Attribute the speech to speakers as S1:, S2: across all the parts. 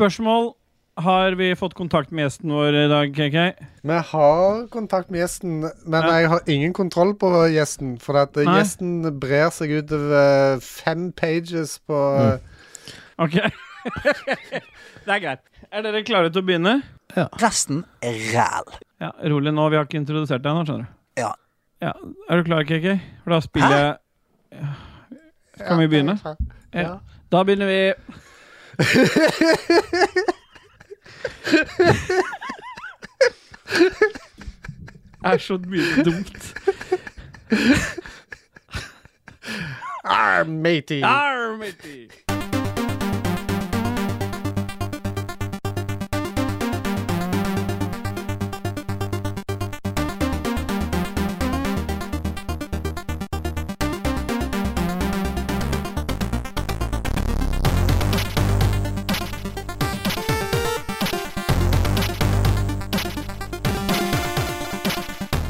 S1: Spørsmål har vi fått kontakt med gjesten vår i dag, KK?
S2: Vi har kontakt med gjesten, men
S1: Ja.
S2: jeg har ingen kontroll på gjesten. For at eh,
S1: Nei.
S2: gjesten brer seg utover fem pages på
S3: Mm.
S2: eh,
S1: Ok. det er greit. Er dere klare til å begynne?
S4: Resten er ræl.
S1: Ja, Rolig nå. Vi har ikke introdusert deg nå, skjønner du.
S4: Ja.
S1: Ja, Er du klar, KK? For da spiller jeg Kan vi begynne? Ja.
S2: Ja.
S1: Da begynner vi. Det er så mye dumt.
S2: Arr, Ah, matey!
S1: Armity!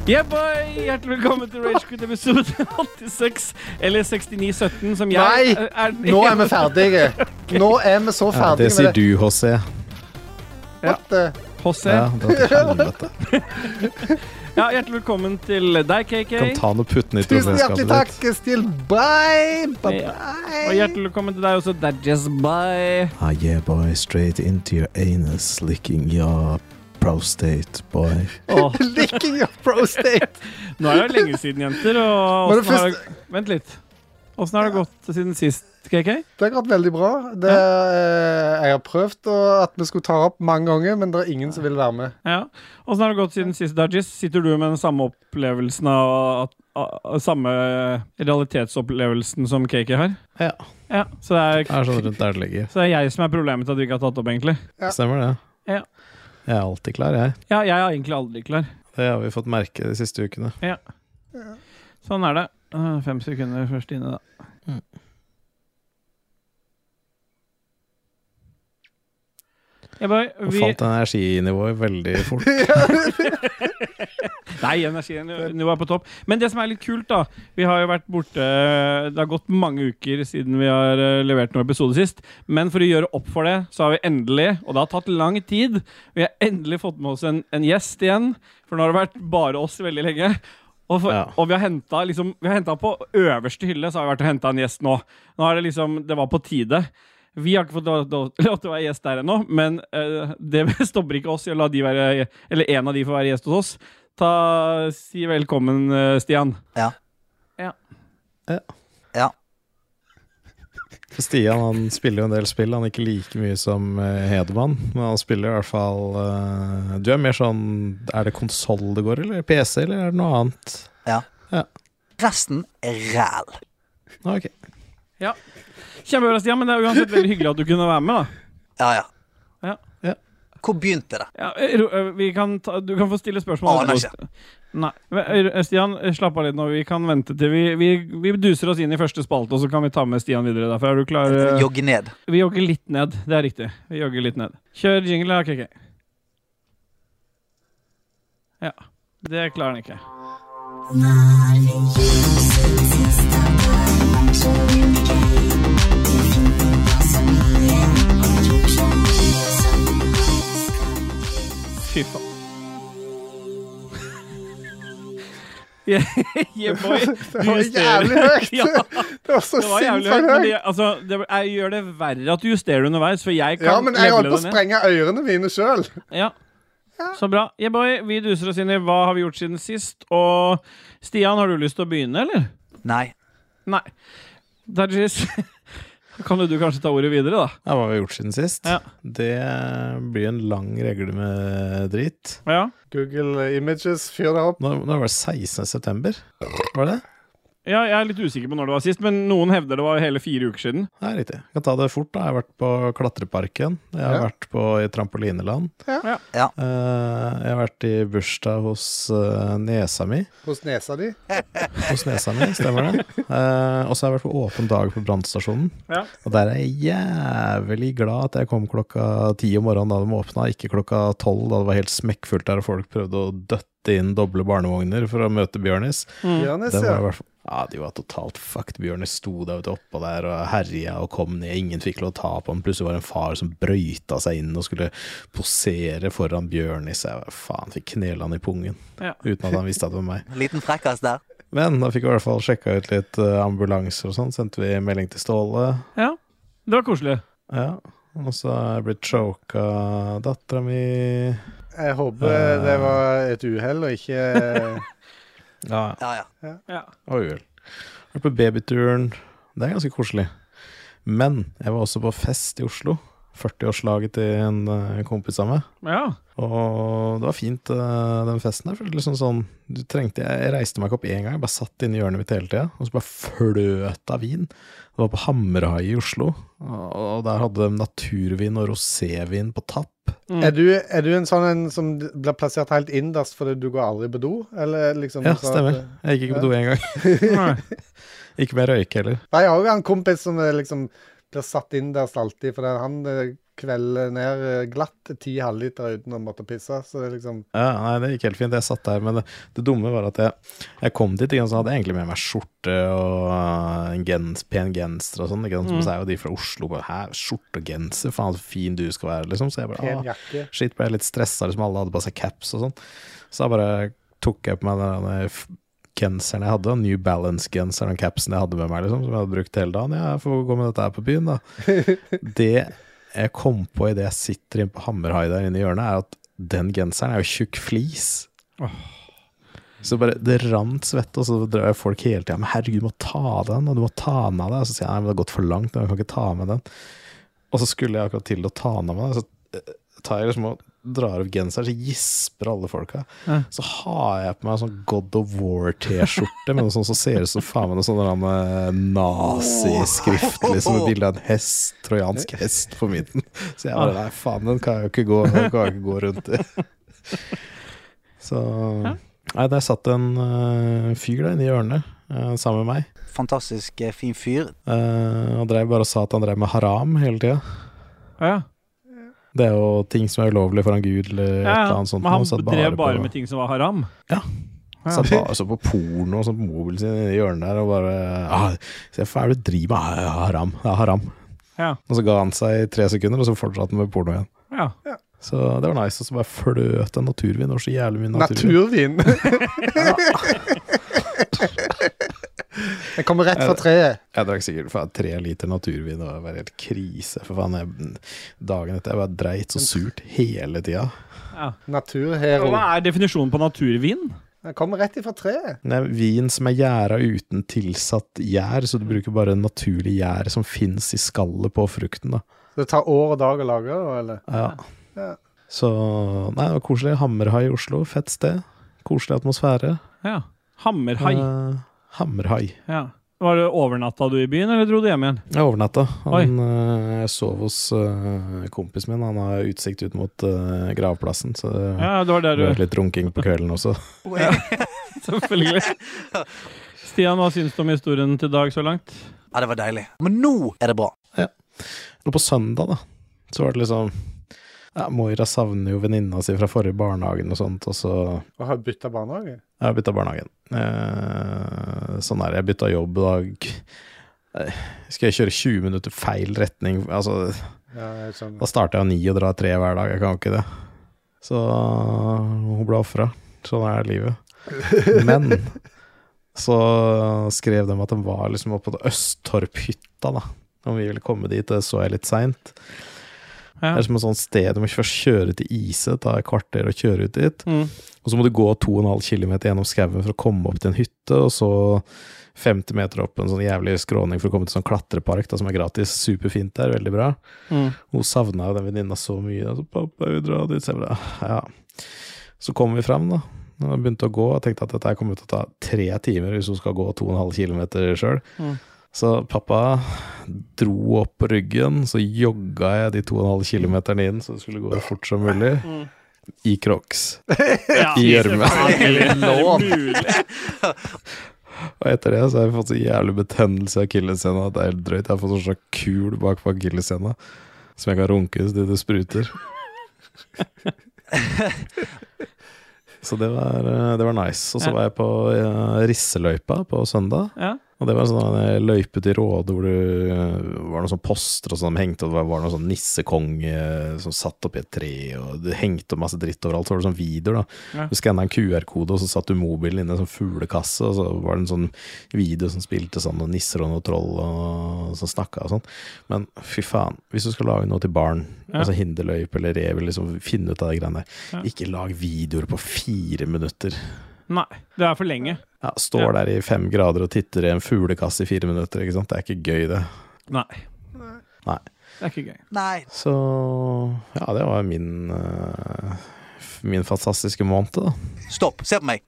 S1: Yeah, boy! Hjertelig velkommen til Ragequit episode 86, eller 6917, som jeg
S2: Nei!
S1: er- er den
S2: Nå er vi ferdige. Nå er vi så
S3: Ja, det
S2: ferdige
S3: sier
S2: med det.
S3: du, HC.
S2: What the-
S1: José.
S3: Ja,
S1: Ja.
S3: det er til helvete.
S1: hjertelig velkommen til deg, KK.
S3: Kan ta den og putte den i
S2: Tusen
S3: troféskapet
S2: hjertelig takk,
S3: ditt.
S2: Still.
S1: Ja.
S2: Bye!
S1: Og
S2: Bye-bye!
S1: hjertelig velkommen til deg også, Dadges Bye.
S3: Ah, yeah, boy. Straight into your anus, licking your prostate, boy.
S1: Åh,
S2: Licking your prostate.
S1: nå er det lenge siden, jenter. Og
S2: Var det
S1: åssen har det, vent litt. Åssen har det gått siden sist, KK?
S2: Det har gått veldig bra. Det, eh, jeg har prøvd å, at vi skulle ta opp mange ganger, men det er ingen som vil være med.
S1: Ja. Åssen har det gått siden sist, Dadges? Sitter du med den samme opplevelsen av at av- av Samme realitetsopplevelsen som KK har?
S3: Ja.
S1: Ja, så det
S3: Det
S1: er
S3: er sånn rundt der det ligger.
S1: så det er jeg som er problemet til at du ikke har tatt opp, egentlig.
S2: Ja.
S3: Stemmer det?
S1: Ja.
S3: Jeg er alltid klar, jeg.
S1: Ja, jeg er egentlig aldri klar.
S3: Det har vi fått merke de siste ukene.
S1: Sånn er det. Eh, Fem sekunder først inne, da.
S3: Mm.
S1: Ja, boy,
S3: Og
S1: vi...
S3: falt energinivået veldig fort.
S1: Nei, energinivået er på topp. Men det som er litt kult, da Vi har jo vært borte eh, Det har gått mange uker siden vi har eh, levert noen episoder sist. Men for å gjøre opp for det, så har vi endelig, og det har tatt lang tid Vi har endelig fått med oss en, en gjest igjen. For nå har det vært bare oss veldig lenge. Og, for,
S3: Ja.
S1: og vi har henta liksom, vi har hentet på øverste hylle, så har vi vært og henta en gjest nå. Nå er det liksom Det var på tide. Vi har ikke fått lov, lov, lov til å være gjest der ennå, men eh, det stopper ikke oss i å la de være Eller en av de få være gjest hos oss. Ta, Si velkommen, eh, Stian.
S3: Så Stian han spiller jo en del spill. Han er ikke like mye som eh, Hedemann, men han spiller i hvert fall eh, Du er mer sånn Er det konsoll det går, eller PC, eller er det noe annet?
S4: Resten er ræl.
S3: Ah, Ok.
S1: Kjempebra, Stian, men det er uansett veldig hyggelig at du kunne være med. da
S4: Ja, ja.
S1: Ja.
S3: Ja.
S4: Hvor begynte det?
S1: ja, eh, Ro- eh, vi kan ta, Du kan få stille spørsmål.
S4: Å, nei, ikke.
S1: Nei. Men, eh, Stian, eh, slapp av litt nå. Vi kan vente til vi, vi, vi duser oss inn i første spalte, og så kan vi ta med Stian videre derfra. Er du klar? eh?
S4: Jogge ned.
S1: Vi jogger litt ned. Det er riktig. Vi jogger litt ned. Kjør jingle, da, KK. Ja. Det klarer han ikke. Fy faen. Yeah, yeah, boy.
S2: Det
S1: Du
S2: var
S1: justerer.
S2: jævlig høyt!
S1: Ja.
S2: Det var så
S1: Det var jævlig høyt, men
S2: sinnssykt høyt.
S1: det, altså, det jeg gjør det verre at du justerer det underveis, for jeg kan
S2: Ja, men jeg holdt
S1: levele
S2: på å
S1: det ned.
S2: sprenge ørene mine sjøl.
S1: Ja. Så bra. Yeah, boy, vi duser oss inn i hva har vi gjort siden sist, og Stian, har du lyst til å begynne, eller?
S4: Nei.
S1: Nei. Dajis, kan jo du kanskje ta ordet videre, da?
S3: Ja, hva har vi gjort siden sist?
S1: Ja.
S3: Det blir en lang regle med drit.
S1: Ja.
S2: Google Images, fyr det opp.
S3: Nå, nå var det 16. september, var det?
S1: ja, jeg er litt usikker på når det var sist, men noen hevder det var hele fire uker siden.
S3: Ja, riktig. Jeg kan ta det fort. da. Jeg har vært på Klatreparken. Jeg har
S2: Ja.
S3: vært på i Trampolineland.
S1: Ja.
S4: Ja.
S3: Eh, jeg har vært i bursdag hos eh, niesa mi.
S2: Hos nesa di.
S3: Hos nesa mi, stemmer det. Eh, og så har jeg vært på åpen dag på brannstasjonen.
S1: Ja.
S3: Og der er jeg jævlig glad at jeg kom klokka ti om morgenen da de åpna, ikke klokka tolv da det var helt smekkfullt der og folk prøvde å døtte sette inn doble barnevogner for å møte Bjørnis.
S2: Jonis,
S3: Den var i
S2: ja.
S3: hvert fall ja, de var totalt fucked. Bjørnis sto der vet du, oppå der og herja og kom ned. Ingen fikk lov å ta på ham. Plutselig var det en far som brøyta seg inn og skulle posere foran Bjørnis. Jeg var, faen, fikk knela han i pungen
S1: Ja.
S3: uten at han visste at det var meg.
S4: Liten frekkas der.
S3: Men da fikk vi i hvert fall sjekka ut litt eh, ambulanser og sånn. Sendte vi melding til Ståle.
S1: Ja, det var koselig.
S3: Ja. Og så er jeg blitt choka dattera mi.
S2: Jeg håper
S3: Eh.
S2: det var et uhell og ikke
S3: Ja.
S4: Ja, ja.
S1: Ja.
S3: Og uhell. Vært på babyturen. Det er ganske koselig. Men jeg var også på fest i Oslo. 40-årslaget til en eh, kompis av meg.
S1: ja.
S3: Og det var fint, eh, den festen der. For det er liksom sånn, du trengte, jeg reiste meg ikke opp én gang, jeg bare satt inne i hjørnet mitt hele tida. Og så bare fløt av vin. Det var på Hammerhai i Oslo, og og der hadde de naturvin og rosévin på tapp.
S2: Er du, er du en sånn en som blir plassert helt innerst fordi du går aldri på do? Eller liksom
S3: Ja,
S2: sånn at-
S3: stemmer. Jeg gikk ikke på do én gang.
S1: Nei.
S3: Ikke med røyke heller.
S2: Nei, jeg har jo en kompis som eh, liksom blir satt innerst alltid, fordi han eh, kvelder ned eh, glatt ti halvliter uten å måtte pisse. Så det er liksom
S3: Ja, nei, det gikk helt fint. Jeg satt der, men det, det dumme var at jeg, jeg kom dit, ikke sant, så hadde jeg egentlig med meg skjorte og eh, en gens, pen genser og sånn. ikke sant, Så er jo de fra Oslo bare Hæ, skjorte og genser? Faen, så fin du skal være, liksom. Så jeg bare
S2: pen
S3: ah,
S2: jakke.
S3: Shit, ble jeg litt stressa, liksom alle hadde på seg caps og sånn. Så da bare tok jeg på meg den denne f- genseren jeg hadde, New Balance-genseren og capsen jeg hadde med meg, liksom, som jeg hadde brukt hele dagen. Ja, jeg får gå med dette her på byen, da. Det jeg kom på idet jeg sitter inne på Hammerhai der inne i hjørnet, er at den genseren er jo tjukk flis.
S1: Åh.
S3: Så bare det rant svette, og så drev folk hele tida med 'herregud, du må ta av den', og 'du må ta den av deg'. Og så sier jeg 'nei, men det har gått for langt, jeg kan ikke ta av meg den'. Og så skulle jeg akkurat til å ta den av meg, så tar jeg liksom og drar opp genseren, så gisper alle folka.
S1: Ja.
S3: Så har jeg på meg en sånn God of War-T-skjorte med noe sånt som ser ut som faen meg noe sånn der, eh, naziskrift, liksom, med bilde av en hest, trojansk hest på midten. Så jeg bare nei, faen, den kan jeg jo ikke gå, den kan jeg ikke gå rundt i. Så Nei, der satt en eh, fyr der inne i hjørnet eh, sammen med meg.
S4: Fantastisk eh, fin fyr.
S3: eh, og drev bare og sa at han drev med haram hele tida.
S1: Ja.
S3: Det er jo ting som er ulovlig foran Gud eller
S1: Ja,
S3: et eller
S1: ja.
S3: annet sånt.
S1: Men han
S3: nå, satt
S1: drev bare
S3: på-
S1: med ting som var haram.
S3: Ja.
S1: Ja.
S3: Satt bare så på porno og sånn på mobilen sin i hjørnet der og bare ah, Se hva er det du driver med? Ah, haram. Ja, haram.
S1: Ja.
S3: Og så ga han seg i tre sekunder, og så fortsatte han med porno igjen.
S1: ja.
S3: Så det var nice. Og så bare fløt det naturvin. Det var så jævlig mye naturvin.
S2: Naturvin! jeg kommer rett fra treet.
S3: Jeg drakk sikkert faen, tre liter naturvin, og det var helt krise. For faen, jeg, dagen etter jeg bare dreit så surt hele tida.
S1: ja.
S2: Naturhero.
S1: Hva er definisjonen på naturvin?
S2: Jeg kommer rett ifra treet.
S3: Det er vin som er gjæra uten tilsatt gjær, så du bruker bare naturlig gjær som fins i skallet på frukten. da
S2: Så det tar år og dag å lage det, eller?
S3: Ja.
S2: Ja.
S3: Så Nei, det var koselig. Hammerhai i Oslo, fett sted. Koselig atmosfære.
S1: Ja. Hammerhai.
S3: Eh, Hammerhai.
S1: Ja. Var det overnatta du i byen, eller dro du hjem igjen?
S3: Jeg overnatta. Han eh, sov hos eh, kompisen min. Han har utsikt ut mot eh, gravplassen, så det
S1: Ja, det var der
S3: ble
S1: du
S3: litt runking på kvelden også.
S1: Selvfølgelig. Stian, hva syns du om historien til Dag så langt?
S4: Ja, det var deilig. Men nå er det bra.
S3: Og på søndag, da, så var det liksom ja, Moira savner jo venninna si fra forrige barnehagen og sånt, og så
S2: Og har bytta barnehage?
S3: Jeg har bytta barnehagen. Eh, sånn er det. Jeg bytta jobb i dag. Eh, Skal jeg kjøre 20 minutter feil retning? Altså,
S2: Ja, jeg sånn- skjønner.
S3: da starter jeg ni og drar tre hver dag. Jeg kan jo ikke det. Så hun ble ofra. Sånn er livet. Men så skrev de at de var liksom oppe på Østtorphytta, da. Om vi ville komme dit. Det så jeg litt seint.
S1: Ja.
S3: Det er som et sånt sted du må først kjøre til Ise, ta et kvarter og kjøre ut dit.
S1: Mm.
S3: Og så må du gå 2,5 km gjennom skauen for å komme opp til en hytte, og så 50 meter opp en sånn jævlig skråning for å komme til en sånn klatrepark da, som er gratis. Superfint der, veldig bra.
S1: Mm.
S3: Hun savna jo den venninna så mye. da, Så 'pappa, jeg vil dra dit', så jeg bare «Ah, ja. Så kom vi fram, da. Og jeg begynte å gå, og tenkte at dette her kommer til å ta tre timer hvis hun skal gå 2,5 km sjøl.
S1: Mm.
S3: Så pappa dro opp på ryggen, så jogga jeg de 2,5 km inn, så det skulle gå så fort som mulig,
S1: Mm.
S3: i crocs.
S1: Ja,
S3: I gjørme.
S1: selvfølgelig. Er det mulig?
S3: Og etter det så har jeg fått så jævlig betennelse i akilleshæla at det er helt drøyt. Jeg har fått en sånn kul bak på akilleshæla som jeg kan runke til det spruter. Så det var, eh, det var nice. Og så
S1: Ja.
S3: var jeg på eh, Risseløypa på søndag.
S1: Ja.
S3: Og det var en sånn eh, løype til Råde hvor det eh, var noen sånn poster og sånn de hengte, og det var- var noen sånn nissekonge som satt oppi et tre, og det hengte opp masse dritt overalt. Så var det sånn videoer, da.
S1: Ja.
S3: Du skanna en QR-kode, og så satt du mobilen inne i en sånn fuglekasse, og så var det en sånn video som spilte sånn noen nisser og noen troll og som snakka og sånn. Men fy faen, hvis du skal lage noe til barn,
S1: Ja.
S3: altså hinderløype eller rev, eller liksom finne ut av de greiene der,
S1: Ja.
S3: ikke lag videoer på fire minutter.
S1: Nei, det er for lenge.
S3: Ja, står der i fem grader og titter i en fuglekasse i fire minutter. ikke sant? Det er ikke gøy, det.
S1: Nei.
S3: Nei.
S1: Det er ikke gøy.
S4: Nei.
S3: Så ja, det var min eh, f- Min fantastiske måned, da.
S4: Stopp. Se på meg.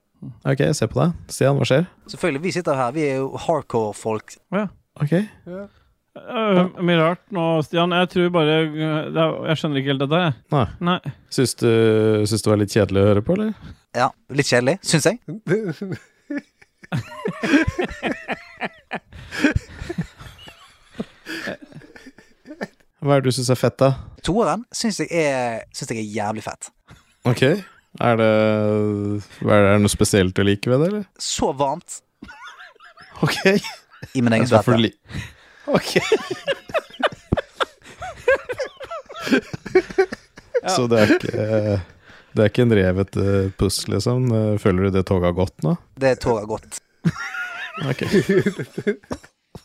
S3: Ok, se på deg. Stian, hva skjer?
S4: Selvfølgelig, vi sitter her. Vi er jo hardcore folk.
S1: Å, ja.
S3: Ok.
S2: Ja.
S1: Øh, mye rart nå, Stian. Jeg tror bare øh, det er, Jeg skjønner ikke helt dette her, jeg.
S3: Nei.
S1: Nei.
S3: Syns du, syns det var litt kjedelig å høre på, eller?
S4: Ja, litt kjedelig, syns jeg.
S3: Hva er det du syns er fett, da?
S4: To av dem syns jeg, er- syns jeg er jævlig fett.
S3: Ok. Er det, hva er det er det noe spesielt du liker ved det, eller?
S4: Så varmt
S3: Ok.
S4: i min egen
S3: Det er derfor
S4: svette.
S3: du li... Ok. Så det er ikke eh, Det er ikke en rev et eh, pust, liksom? Eh, Føler du det toget har gått nå?
S4: Det toget har gått.
S3: Ok.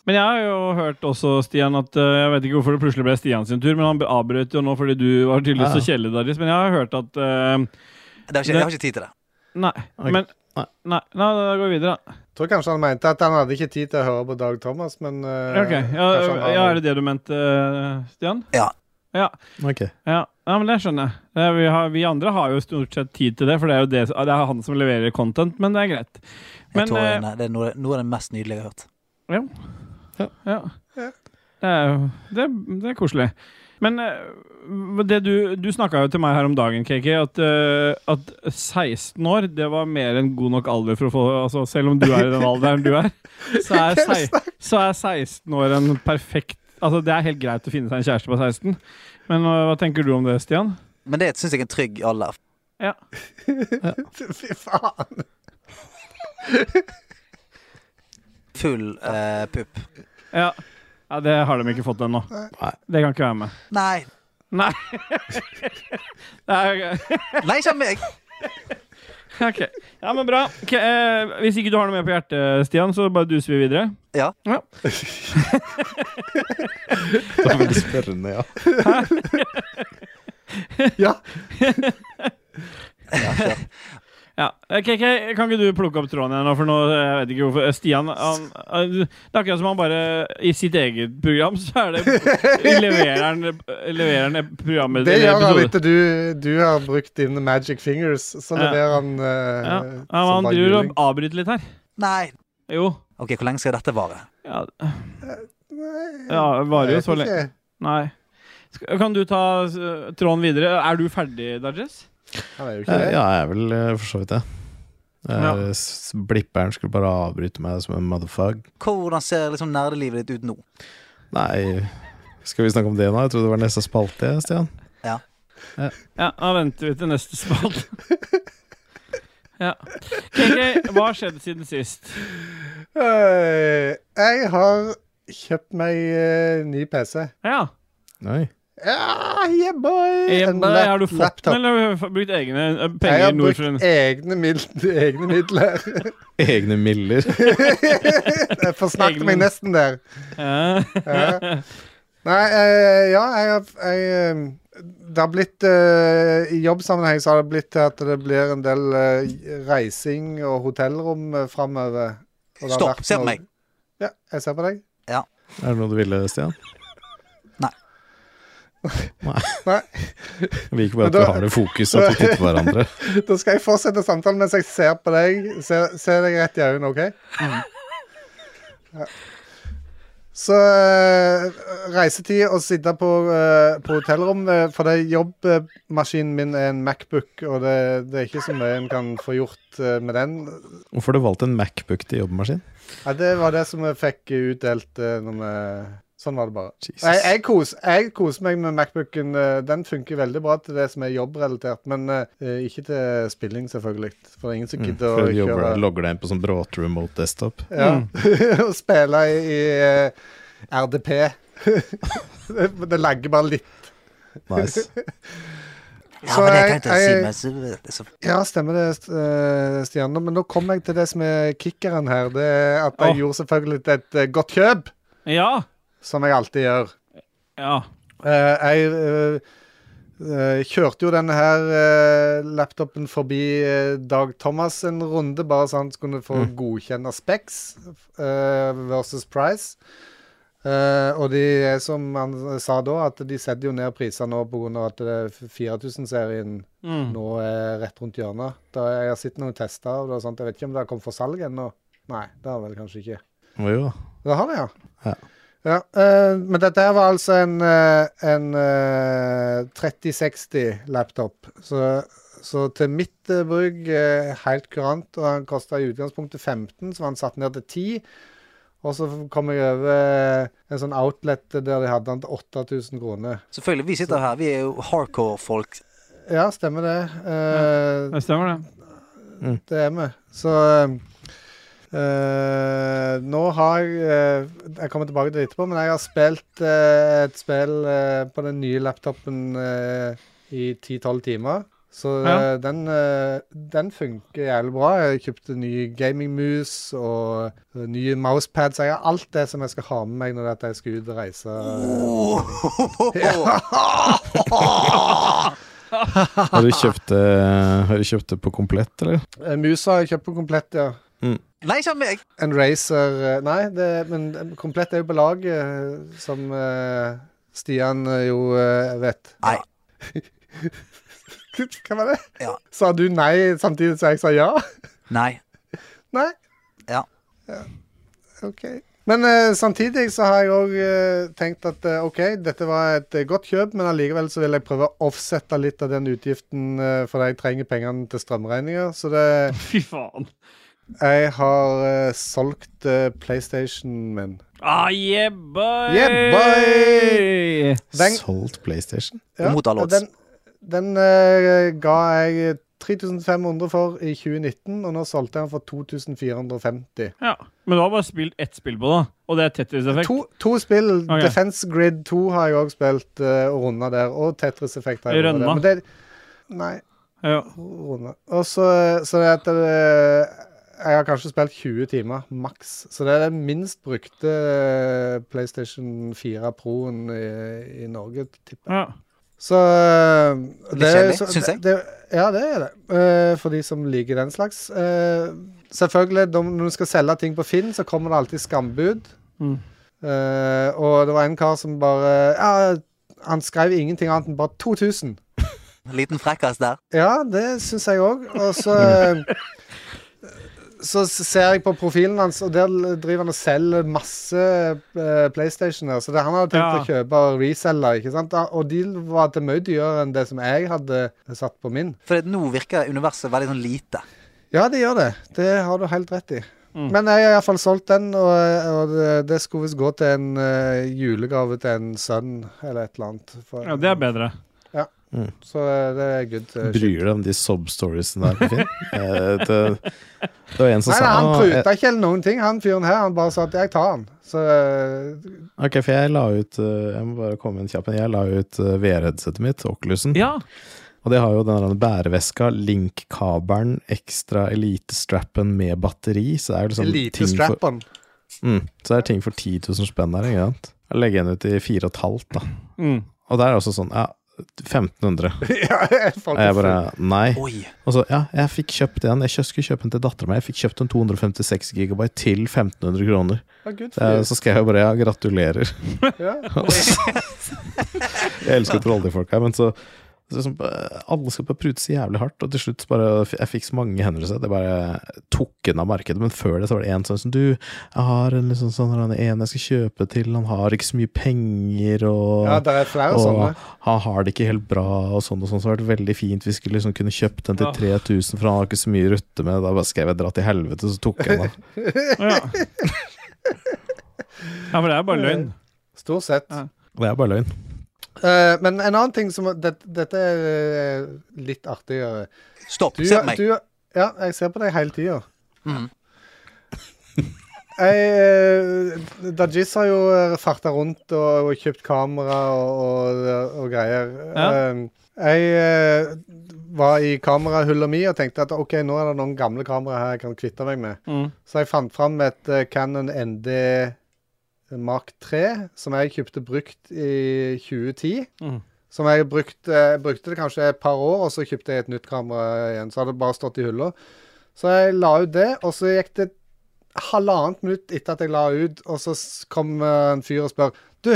S1: Men jeg har jo hørt også, Stian, at øh, Jeg vet ikke hvorfor det plutselig ble Stian sin tur, men han avbrøt jo nå fordi du var tydeligvis
S3: Ja.
S1: så kjedelig, Darius. Men jeg har hørt at øh,
S4: Det har ikke, jeg har ikke tid til det.
S1: Nei.
S3: Ok.
S1: Men
S3: Nei.
S1: Nei, nei, da går vi videre, da.
S2: tror kanskje han mente at han hadde ikke tid til å høre på Dag Thomas, men eh,
S1: Ok, ja,
S2: kanskje han har-
S1: ja, Er det det du mente, øh, Stian?
S4: Ja.
S1: Ja,
S3: Ok.
S1: ja. ja men det skjønner jeg. Det, er- vi, har, vi andre har jo stort sett tid til det, for det er jo det, det er han som leverer content, men det er greit.
S4: Jeg
S1: Men
S4: tror,
S1: øh,
S4: nei, det er noe, noe av det mest nydelige jeg har hørt.
S1: Ja.
S2: Ja.
S1: Det er, jo- det, er- det er koselig. Men eh, det du, du snakka jo til meg her om dagen, KK, at, eh, at 16 år det var mer enn god nok alder for å få altså, Selv om du er i den alderen du er, så er, sei, så er 16 år en perfekt Altså, det er helt greit å finne seg en kjæreste på 16, men eh, hva tenker du om det, Stian?
S4: Men det syns jeg er en trygg alder.
S2: Fy faen!
S4: Full eh, pupp.
S1: Ja, ja det har de ikke fått ennå.
S3: Nei.
S1: Det kan ikke være med.
S4: Nei.
S1: Nei. det er
S4: Nei, ikke av meg.
S1: Ok, ja men bra Ok, eh, Hvis ikke du har noe mer på hjertet, Stian, så bare duser vi videre.
S3: Det var veldig spørrende, ja.
S2: Ja,
S1: Ja, ok, ok, Kan ikke du plukke opp tråden igjen? nå, For nå, jeg vet ikke hvorfor Eh, Stian han, han, Det er akkurat som han bare I sitt eget program så er det leverer han leverer han et program
S2: det gjør han
S1: episode.
S2: etter du, du har brukt dine magic fingers, så
S1: Ja.
S2: leverer han uh,
S1: Ja, ja, men han driver og avbryter litt her.
S4: Nei.
S1: Jo.
S4: Ok, hvor lenge skal dette vare?
S1: Ja, ja det varer jo så lenge. Nei. Skal- Kan du ta eh, tråden videre? Er du ferdig, Dajez?
S2: Han er jo ikke
S3: Eh,
S2: det.
S3: Ja, jeg er vel eh, for så vidt det. Eh,
S1: Ja.
S3: s- Blipperen skulle bare avbryte meg som en motherfuck.
S4: Hvordan ser liksom nerdelivet ditt ut nå?
S3: Nei, skal vi snakke om det nå? Jeg trodde det var neste spalte, jeg, Stian.
S1: Ja, da venter vi til neste spalte. ja. KK, hva har skjedd siden sist?
S2: Eh, jeg har kjøpt meg eh, ny PC.
S1: Ja.
S3: Nei.
S2: Ja, yeah, boy!
S1: Eh,
S2: En
S1: bare,
S2: lap-
S1: har du fått
S2: laptop.
S1: den, eller har du brukt egne eh,
S2: Jeg
S1: penger
S2: har
S1: nord for en
S2: brukt e- egne, mid egne midler.
S3: Egne miller.
S2: Jeg forsnakket
S1: Egne-
S2: meg nesten der.
S1: Ja.
S2: Nei, eh, ja, jeg har jeg, eh, Det har blitt eh, I jobbsammenheng så har det blitt til at det blir en del eh, reising og hotellrom uh, framover.
S4: Stopp, se på meg.
S2: Ja, jeg ser på deg.
S3: Er det noe du ville, Stian?
S4: Nei.
S3: Nei.
S2: Nei.
S3: Jeg liker bare
S2: Men
S3: at du
S2: da-
S3: har det fokuset at vi titter på hverandre.
S2: Da skal jeg fortsette samtalen mens jeg ser på deg. Se, se deg rett i øynene, OK? Ja. Så eh, reisetid og sitte på, eh, på hotellrom eh, For det jobbmaskinen min er en Macbook, og det, det er ikke så mye en kan få gjort eh, med den.
S3: Hvorfor har du valgt en Macbook til jobbmaskin?
S2: Ja, det var det som vi fikk utdelt eh, når vi Sånn var det bare.
S3: Jesus.
S2: Jeg, jeg, kos, jeg koser meg med Macbooken. eh, Den funker veldig bra til det som er jobbrelatert, men eh, ikke til spilling, selvfølgelig. Mm, For det er Mm. ingen som gidder
S3: Før Mm, du
S2: å
S3: jobber
S2: kjøre
S3: deg, logger deg inn på sånn bråte remote desktop.
S2: ja, og spille i, i eh, RDP. det, det lagger bare litt.
S3: Nice.
S4: Ja,
S2: Så
S4: men jeg
S2: jeg-
S4: tenkte å si
S2: jeg-
S4: meg så- så-
S2: Ja, stemmer det, St- eh, Stian. Men nå kom jeg til det som er kickeren her. Det er at jeg
S1: Åh.
S2: gjorde selvfølgelig et eh, godt kjøp,
S1: Ja.
S2: som jeg alltid gjør.
S1: ja.
S2: Eh, jeg eh, eh, kjørte jo denne her eh, laptopen forbi eh, Dag Thomas en runde, bare så han kunne få godkjenne Specs eh, versus Price. Eh, og de er som han sa da, at de setter jo ned priser nå pga. at det er 4000-serien
S1: Mm.
S2: nå er rett rundt hjørnet. Da jeg har sett noen tester, og det er sånt. jeg vet ikke om det har kommet for salg ennå. Nei, det har det vel kanskje ikke.
S3: Må jo da.
S2: Det har det, ja.
S3: Ja.
S2: Ja, eh, men dette her var altså en, eh, en eh, 3060-laptop. Så, så til mitt eh, bruk eh, helt kurant. Og han kosta i utgangspunktet 15, så var han satt ned til 10. Og så kom jeg over en sånn outlet der de hadde han til 8000 kroner.
S4: Selvfølgelig, vi sitter her. Vi er jo hardcore folk.
S2: Ja, stemmer det. Eh,
S1: Det stemmer, det.
S2: Det er vi. Så ehm, eh, nå har jeg eh, Jeg kommer tilbake til det etterpå, men jeg har spilt eh, et spill eh, på den nye laptopen eh, i 10-12 timer. Så
S1: Ja.
S2: eh, den, eh, den funker jævlig bra. Jeg kjøpte ny gamingmus og eh, nye mousepads. Jeg har alt det som jeg skal ha med meg når dette jeg skal ut og reise.
S3: Har du kjøpt det- har du kjøpt det på komplett, eller?
S2: Eh, Musa har jeg kjøpt på komplett, ja.
S4: Nei, ikke meg.
S2: En racer eh, Nei, det, men eh, komplett er jo på laget, eh, som eh, Stian eh, jo eh, vet.
S4: Nei.
S2: Hva var det?
S4: Ja.
S2: Sa du nei samtidig som jeg sa ja?
S4: Nei.
S2: Nei?
S4: Ja.
S2: OK. Men eh, samtidig så har jeg òg tenkt at eh, OK, dette var et eh, godt kjøp, men allikevel så vil jeg prøve å offsette litt av den utgiften eh, fordi jeg trenger pengene til strømregninger. Så det,
S1: Fy faen.
S2: jeg har eh, solgt eh, PlayStation min.
S1: Ah, yeah, boy!
S2: Yeah, boy! Den-
S3: Solgt PlayStation?
S2: Ja,
S4: Mot all
S2: og
S4: odds.
S2: Den, den eh, ga jeg 3500 for i 2019, og nå solgte jeg den for 2450.
S1: Ja. Men du har bare spilt ett spill på det, og det er Tetris Effect.
S2: To, to spill.
S1: Ok.
S2: Defense Grid 2 har jeg òg spilt eh, og runda der. Og Tetris Effect har jeg
S1: Rønna?
S2: rundet der. Men det, nei,
S1: Ja.
S2: runde. Og så så det at det, jeg har kanskje spilt 20 timer, maks. Så det er den minst brukte eh, PlayStation 4 Pro-en i, i Norge, tipper jeg.
S1: Ja.
S2: Så øh,
S4: Det er kjedelig, synes jeg.
S2: Det, ja, det er det. Øh, for de som liker den slags. Øh, selvfølgelig, de, når du skal selge ting på Finn, så kommer det alltid skambud.
S1: Mm.
S2: Øh, og det var en kar som bare ja, Han skrev ingenting annet enn bare 2000.
S4: Liten frekkas der.
S2: Ja, det syns jeg òg. Og så Så ser jeg på profilen hans, og der driver han og selger masse eh, PlayStationer. Så det han hadde tenkt
S1: Ja.
S2: å kjøpe og reselle, ikke sant? og de var til mye dyrere enn det som jeg hadde satt på min.
S4: For nå virker universet veldig sånn lite.
S2: Ja, det gjør det. Det har du helt rett i.
S1: Mm.
S2: Men jeg har iallfall solgt den, og, og det, det skulle visst gå til en eh, julegave til en sønn eller et eller annet. For,
S1: ja, det er bedre.
S2: Så eh, det er good. eh, shit.
S3: Bryr deg om de sub-storiesene der på Finn? Eh, det, det var en som
S2: Nei,
S3: sa
S2: nei, han
S3: «Å, jeg-
S2: pruta ikke eller noen ting. Han fyren her, han bare sa at 'jeg tar han'. Så eh,
S3: Ok, for jeg la ut eh, Jeg må bare komme med en kjapp en. Jeg la ut eh, VR-headsetet mitt, Oculusen.
S1: Ja.
S3: Og det har jo den der bæreveska, link-kabelen, ekstra elite-strappen med batteri. Så det er jo liksom
S2: lite
S3: ting for,
S2: strap-on.
S3: mm, så det er ting for 10 000 spenn der, ikke sant. Jeg legger den ut i 4,5, da.
S1: Mm.
S3: Og der er det også sånn, ja, 1500.
S2: ja, jeg får
S3: Og jeg bare nei.
S4: Oi.
S3: Og så ja, jeg fikk kjøpt den. Jeg skulle kjøpe den til dattera mi. Jeg fikk kjøpt en 256 gigabyte til 1500 kroner.
S2: Ja, good
S3: Det er-
S2: for
S3: Så skrev jeg bare ja, altså. gratulerer.
S2: you. Ja.
S3: Og så- jeg elsker trolleyfolk her, men så, så liksom, eh, Alle skal bare prute så jævlig hardt, og til slutt så bare f- Jeg fikk så mange henvendelser. Det bare tok unna markedet. Men før det så var det en sånn som Du, jeg har en liksom sånn her, en jeg skal kjøpe til, han har ikke så mye penger, og
S2: ja, det er flere sånne.
S3: og han har det ikke helt bra, og sånn og sånn. Så det hadde vært veldig fint hvis vi skulle liksom kunne kjøpt den til
S1: Ja.
S3: 3000, for han har ikke så mye å rutte med. Da bare skrev jeg 'dra til helvete', så tok jeg den av.
S1: Ja. ja, for det er bare løgn.
S2: Stort sett.
S1: Ja.
S3: Og det er bare løgn.
S2: Eh, men en annen ting som det, Dette er eh, litt artigere.
S4: Stopp,
S2: Du,
S4: se på meg.
S2: du, ja, jeg ser på deg hele tida.
S4: Mhm.
S2: Jeg, eh, Dajis har jo eh, farta rundt og, og kjøpt kamera og, og, og greier.
S1: Ja.
S2: Eh, Jeg eh, var i kamerahylla mi og tenkte at OK, nå er det noen gamle kameraer her jeg kan kvitte meg med.
S1: Mm.
S2: Så jeg fant fram et eh, Canon ND Mark 3, som jeg kjøpte brukt i 2010.
S1: Mhm.
S2: Som jeg brukte, jeg brukte det kanskje et par år, og så kjøpte jeg et nytt kamera igjen. Så hadde det bare stått i hylla. Så jeg la ut det, og så gikk det halvannet minutt etter at jeg la ut, og så s- kom eh, en fyr og spør Du,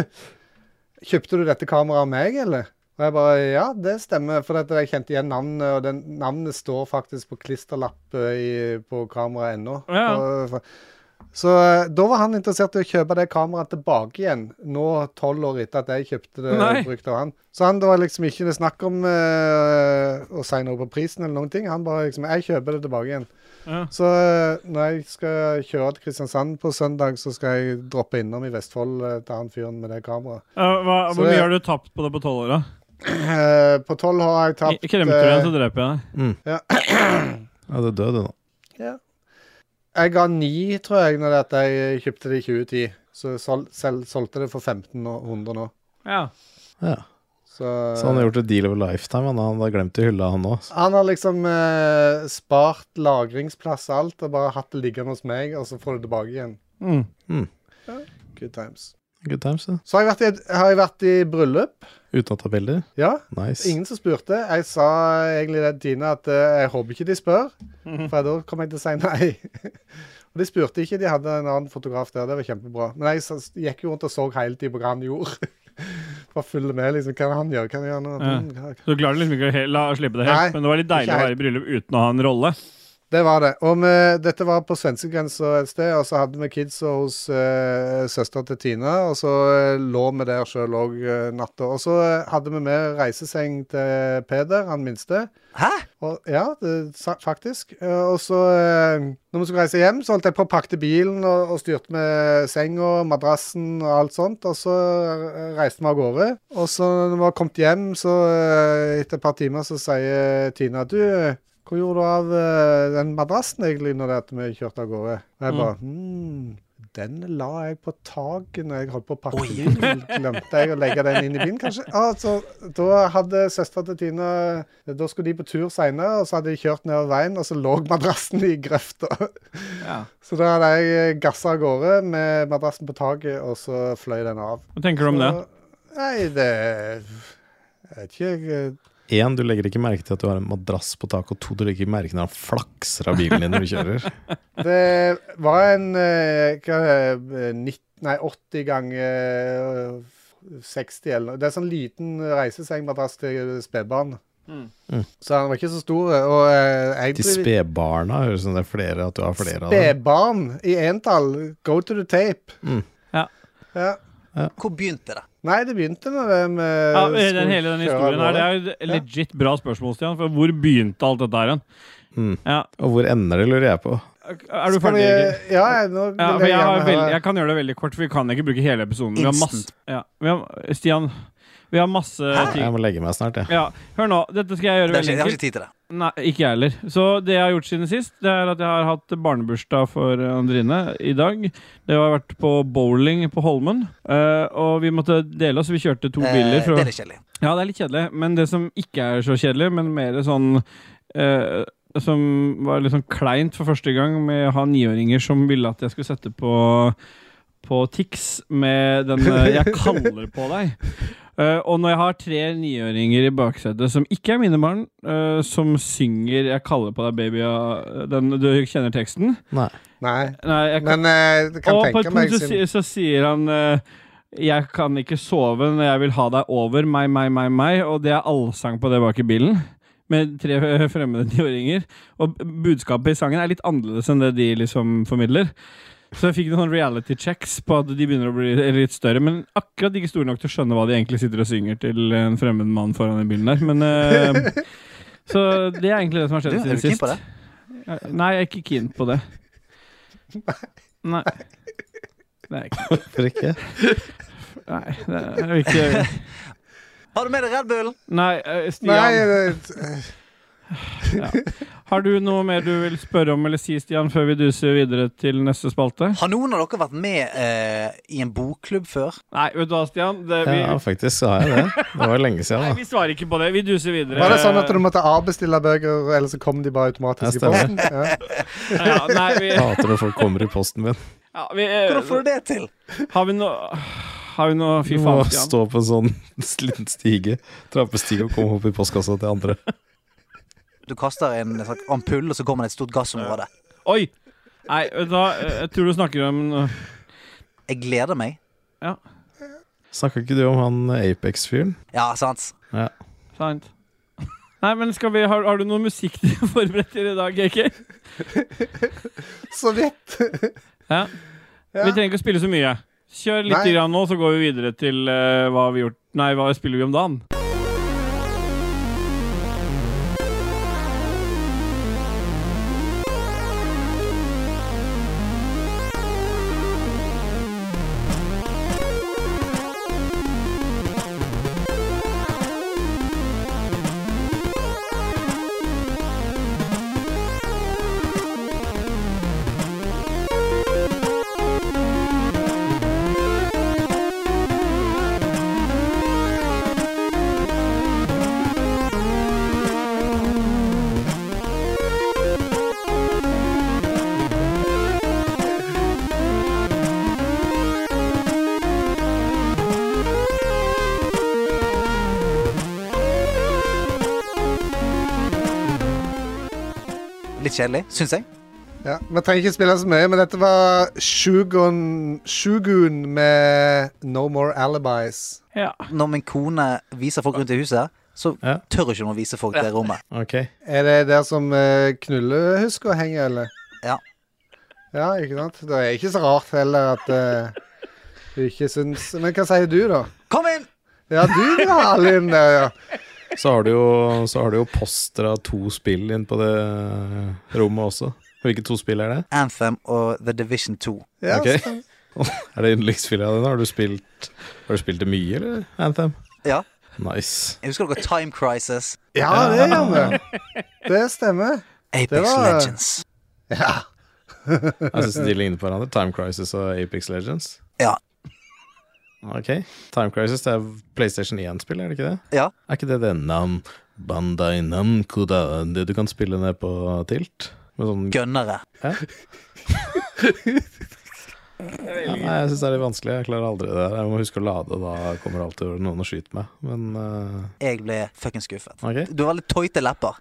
S2: kjøpte du dette kameraet av meg, eller? Og jeg bare Ja, det stemmer, for dette, jeg kjente igjen navnet, og den, navnet står faktisk på klisterlapp eh, i, på kameraet ennå.
S1: Ja.
S2: Og- for- Så eh, da var han interessert i å kjøpe det kameraet tilbake igjen, nå tolv år etter at jeg kjøpte det
S1: Nei.
S2: brukt av han. Så han, det var liksom ikke noe snakk om eh, å si noe på prisen eller noen ting. Han bare liksom Jeg kjøper det tilbake igjen.
S1: Ja.
S2: Så eh, når jeg skal kjøre til Kristiansand på søndag, så skal jeg droppe innom i Vestfold eh, til han fyren med det kameraet.
S1: Ja, hva,
S2: Så
S1: hvor
S2: det-
S1: mye har du tapt på det på tolv år, da?
S2: Eh, på tolv har jeg tapt
S1: I- Kremter du en,
S2: eh,
S1: så dreper jeg deg.
S3: Ja, du er død, du nå.
S2: Jeg ga ni, tror jeg, når det at jeg kjøpte det i 2010. Så sol, selv solgte det for 1500 nå.
S1: Ja.
S3: Ja.
S2: Så,
S3: Så
S2: Eh.
S3: han har gjort et deal of a lifetime. Han han har glemt i hylla, han òg.
S2: Han har liksom eh, spart lagringsplass og alt, og bare hatt det liggende hos meg, og så får det tilbake igjen.
S1: Mm.
S2: Good times.
S3: Good times, det.
S2: Så har jeg vært i, et- har jeg vært i bryllup.
S3: Uten å ta bilder.
S2: Ja.
S3: Nice.
S2: Ingen som spurte. Jeg sa egentlig det til Tina at eh, jeg håper ikke de spør, for da kommer jeg til å si nei. og de spurte ikke. De hadde en annen fotograf der. Det var kjempebra. Men jeg s- gikk jo rundt og så hele tiden på hva han gjorde. Bare følge med, liksom. Hva er det han gjør? Hva er det han
S1: Ja.
S2: gjør? nå? Mm, Hva-
S1: Så du klarer liksom ikke å he- la slippe det helt,
S2: Nei,
S1: men det var litt deilig
S2: ikke
S1: å være i bryllup uten å ha en rolle.
S2: Det var det. Og vi- dette var på svenskegrensa et sted, og så hadde vi kidsa hos uh, søster til Tina, og så eh, lå vi der sjøl òg natta. Og så eh, hadde vi med reiseseng til Peder, han minste.
S4: Hæ?
S2: Og, ja, det, sa- faktisk. Eh, og så, eh, når vi skulle reise hjem, så holdt jeg på å pakke bilen og, og styrte med senga, madrassen og alt sånt. Og så eh, reiste vi av gårde. Og så når vi var kommet hjem, så eh, etter et par timer så sier Tina Du, hvor gjorde du av eh, den madrassen egentlig når det at vi kjørte av gårde? Og jeg bare hmm, Den la jeg på taket når jeg holdt på å pakke
S4: Oi.
S2: bilen. Glemte jeg å legge den inn i bilen, kanskje? Ah, så, da hadde søstera til Tina Da skulle de på tur seinere, og så hadde de kjørt nedover veien, og så lå madrassen i grøfta.
S1: Ja.
S2: Så da hadde jeg gassa av gårde med madrassen på taket, og så fløy den av.
S1: Hva tenker du om det?
S2: Så- Nei, det Jeg vet ikke.
S3: Én, du legger ikke merke til at du har en madrass på taket, og to, du legger ikke merke når han flakser av bilen din når du kjører.
S2: jeg- Det var en eh, hva, eh, 90, Nei, 80 ganger eh, 60 eller noe. Det er sånn liten reisesengmadrass til spedbarn.
S1: Mm.
S3: Mm.
S2: Så han var ikke så stor. Og eh, jeg
S3: De
S2: driver-
S3: spedbarna høres ut som det er flere, at du har flere av dem.
S2: Spedbarn i entall. Go to the tape.
S3: Mm.
S1: Ja.
S2: Ja.
S4: Hvor begynte det?
S2: Nei, det begynte med eh, det med
S1: Ja, den hele den historien her, det er jo et legit bra spørsmål, Stian. For hvor begynte alt dette her hen?
S3: Mm.
S1: Ja.
S3: Og hvor ender det, lurer jeg på.
S1: Er du ferdig? Egil?
S2: Ja, jeg- nå vil
S1: Ja,
S2: jeg
S1: for jeg, har
S2: gjerne
S1: veld,
S2: høre-
S1: jeg kan gjøre det veldig kort, for vi kan ikke bruke hele episoden. Vi har masse,
S4: Instant.
S1: ja, vi har, Stian, vi har masse
S3: Jeg
S1: ting.
S3: må legge meg snart, jeg.
S1: Ja, hør nå, dette skal jeg gjøre
S4: det er ikke,
S1: veldig
S4: jeg har
S1: enkelt.
S4: ikke tid til det.
S1: Nei, ikke jeg heller. Så det jeg har gjort siden sist, det er at jeg har hatt barnebursdag for Andrine i dag. Det har vært på bowling på Holmen, eh, og vi måtte dele oss. Vi kjørte to
S4: Eh,
S1: biler. For
S4: det
S1: å,
S4: er litt kjedelig.
S1: ja, det er litt kjedelig, men det som ikke er så kjedelig, men mer sånn eh, Som var litt sånn kleint for første gang med å ha niåringer som ville at jeg skulle sette på på Tix med den eh, 'jeg kaller på deg'. Eh, og når jeg har tre niåringer i baksetet som ikke er mine barn, eh, som synger 'Jeg kaller på deg, baby' av den Du kjenner teksten?
S3: Nei.
S2: Nei,
S1: Nei, jeg
S2: men eh, jeg kan
S1: og på
S2: tenke
S1: et
S2: meg
S1: punkt så,
S2: siden
S1: si- så sier han eh, Jeg kan ikke sove når jeg vil ha deg over meg, meg, meg, meg. Og det er allsang på det bak i bilen. Med tre eh, fremmede niåringer. Og b- budskapet i sangen er litt annerledes enn det de liksom formidler. Så jeg fikk noen sånne reality checks på at de begynner å bli litt større, men akkurat ikke store nok til å skjønne hva de egentlig sitter og synger til en fremmed mann foran i bilen der. Men eh, Så det er egentlig det som har
S4: Du,
S1: skjedd
S4: er du
S1: siden
S4: keen
S1: sist.
S4: på det?
S1: Nei, jeg er ikke keen på det. Nei. Det er jeg ikke.
S3: Hvorfor ikke?
S1: Nei, det er jo ikke
S4: Har du med deg Red Bull?
S1: Nei, eh, Stian.
S2: Nei, eh, det,
S1: Har du noe mer du vil spørre om eller si, Stian, før vi duser videre til neste spalte?
S4: Har noen av dere vært med eh, i en bokklubb før?
S1: Nei, vet du hva, Stian? Det, vi,
S3: Ja, faktisk så har jeg det. Det var lenge
S1: nei,
S3: siden, da.
S1: vi svarer ikke på det. Vi duser videre.
S2: var det sånn at du måtte avbestille bøker, eller så kom de bare automatisk
S3: Ja,
S2: i posten? Ja.
S1: ja, nei, vi,
S3: Jeg hater når folk kommer i posten min.
S1: ja, vi, eh,
S4: Hvordan får du det til?
S1: Har vi noe Har vi noe Fy
S3: Du må
S1: faen, Stian.
S3: stå på en sånn liten stige, trappestige, og komme opp i postkassa til andre.
S4: Du kaster en slags ampull, og så kommer det et stort gassområde.
S1: Oi! Nei, vet du hva, eh, jeg tror du snakker om noe.
S4: Jeg gleder meg.
S3: Snakka ikke du om han Apex-fyren?
S4: Ja, sant?
S3: Ja.
S1: sant. Nei, men skal vi, har, har du noe musikk du forbereder i dag, GK?
S2: Så vidt.
S1: Ja.
S2: Ja.
S1: Vi trenger ikke å spille så mye. Kjør litt
S2: Nei.
S1: grann nå, så går vi videre til eh, hva vi gjort Nei, hva spiller vi om dagen?
S4: Litt kjedelig, syns jeg.
S2: Ja, Vi trenger ikke spille så mye, men dette var Shugun, Shugun med No More Alibis.
S1: Ja.
S4: Når min kone viser folk rundt i huset, så
S3: Ja.
S4: tør ikke hun å vise folk det rommet.
S3: Ok.
S2: Er det der som eh, knullehuska henger, eller?
S4: Ja.
S2: Ja, ikke sant? Det er ikke så rart heller at eh, du ikke syns Men hva sier du, da?
S4: Kom inn!
S2: Ja, du da, Alin. der, Ja.
S3: Så har du jo, så har du jo poster av to spill inn på det rommet også. Hvilke to spill er det?
S4: Anthem og The Division 2.
S2: Ja,
S3: Ok.
S2: så-
S3: Er det yndlingsspillet dine? Har du spilt Har du spilt det mye, eller? Anthem?
S4: Ja.
S3: Nice.
S4: Jeg husker dere Time Crisis,
S2: ja, det gjør vi. Det stemmer.
S4: Apex
S2: Det var-
S4: Legends.
S2: Ja.
S3: Jeg syns de ligner på hverandre. Time Crisis og Apex Legends.
S4: Ja.
S3: Ok. Time Crisis det er PlayStation 1-spill, er det ikke det?
S4: Ja.
S3: Er ikke det det Nam Bandai Namco, da? Det du kan spille ned på tilt? Med sånn
S4: Gønnere.
S3: ja, Nei, jeg syns det er litt vanskelig. Jeg klarer aldri det der. Jeg må huske å lade, da kommer det alltid noen og skyter meg. Men eh,
S4: Jeg ble fuckings skuffet.
S3: ok.
S4: Du har litt tøyte lepper.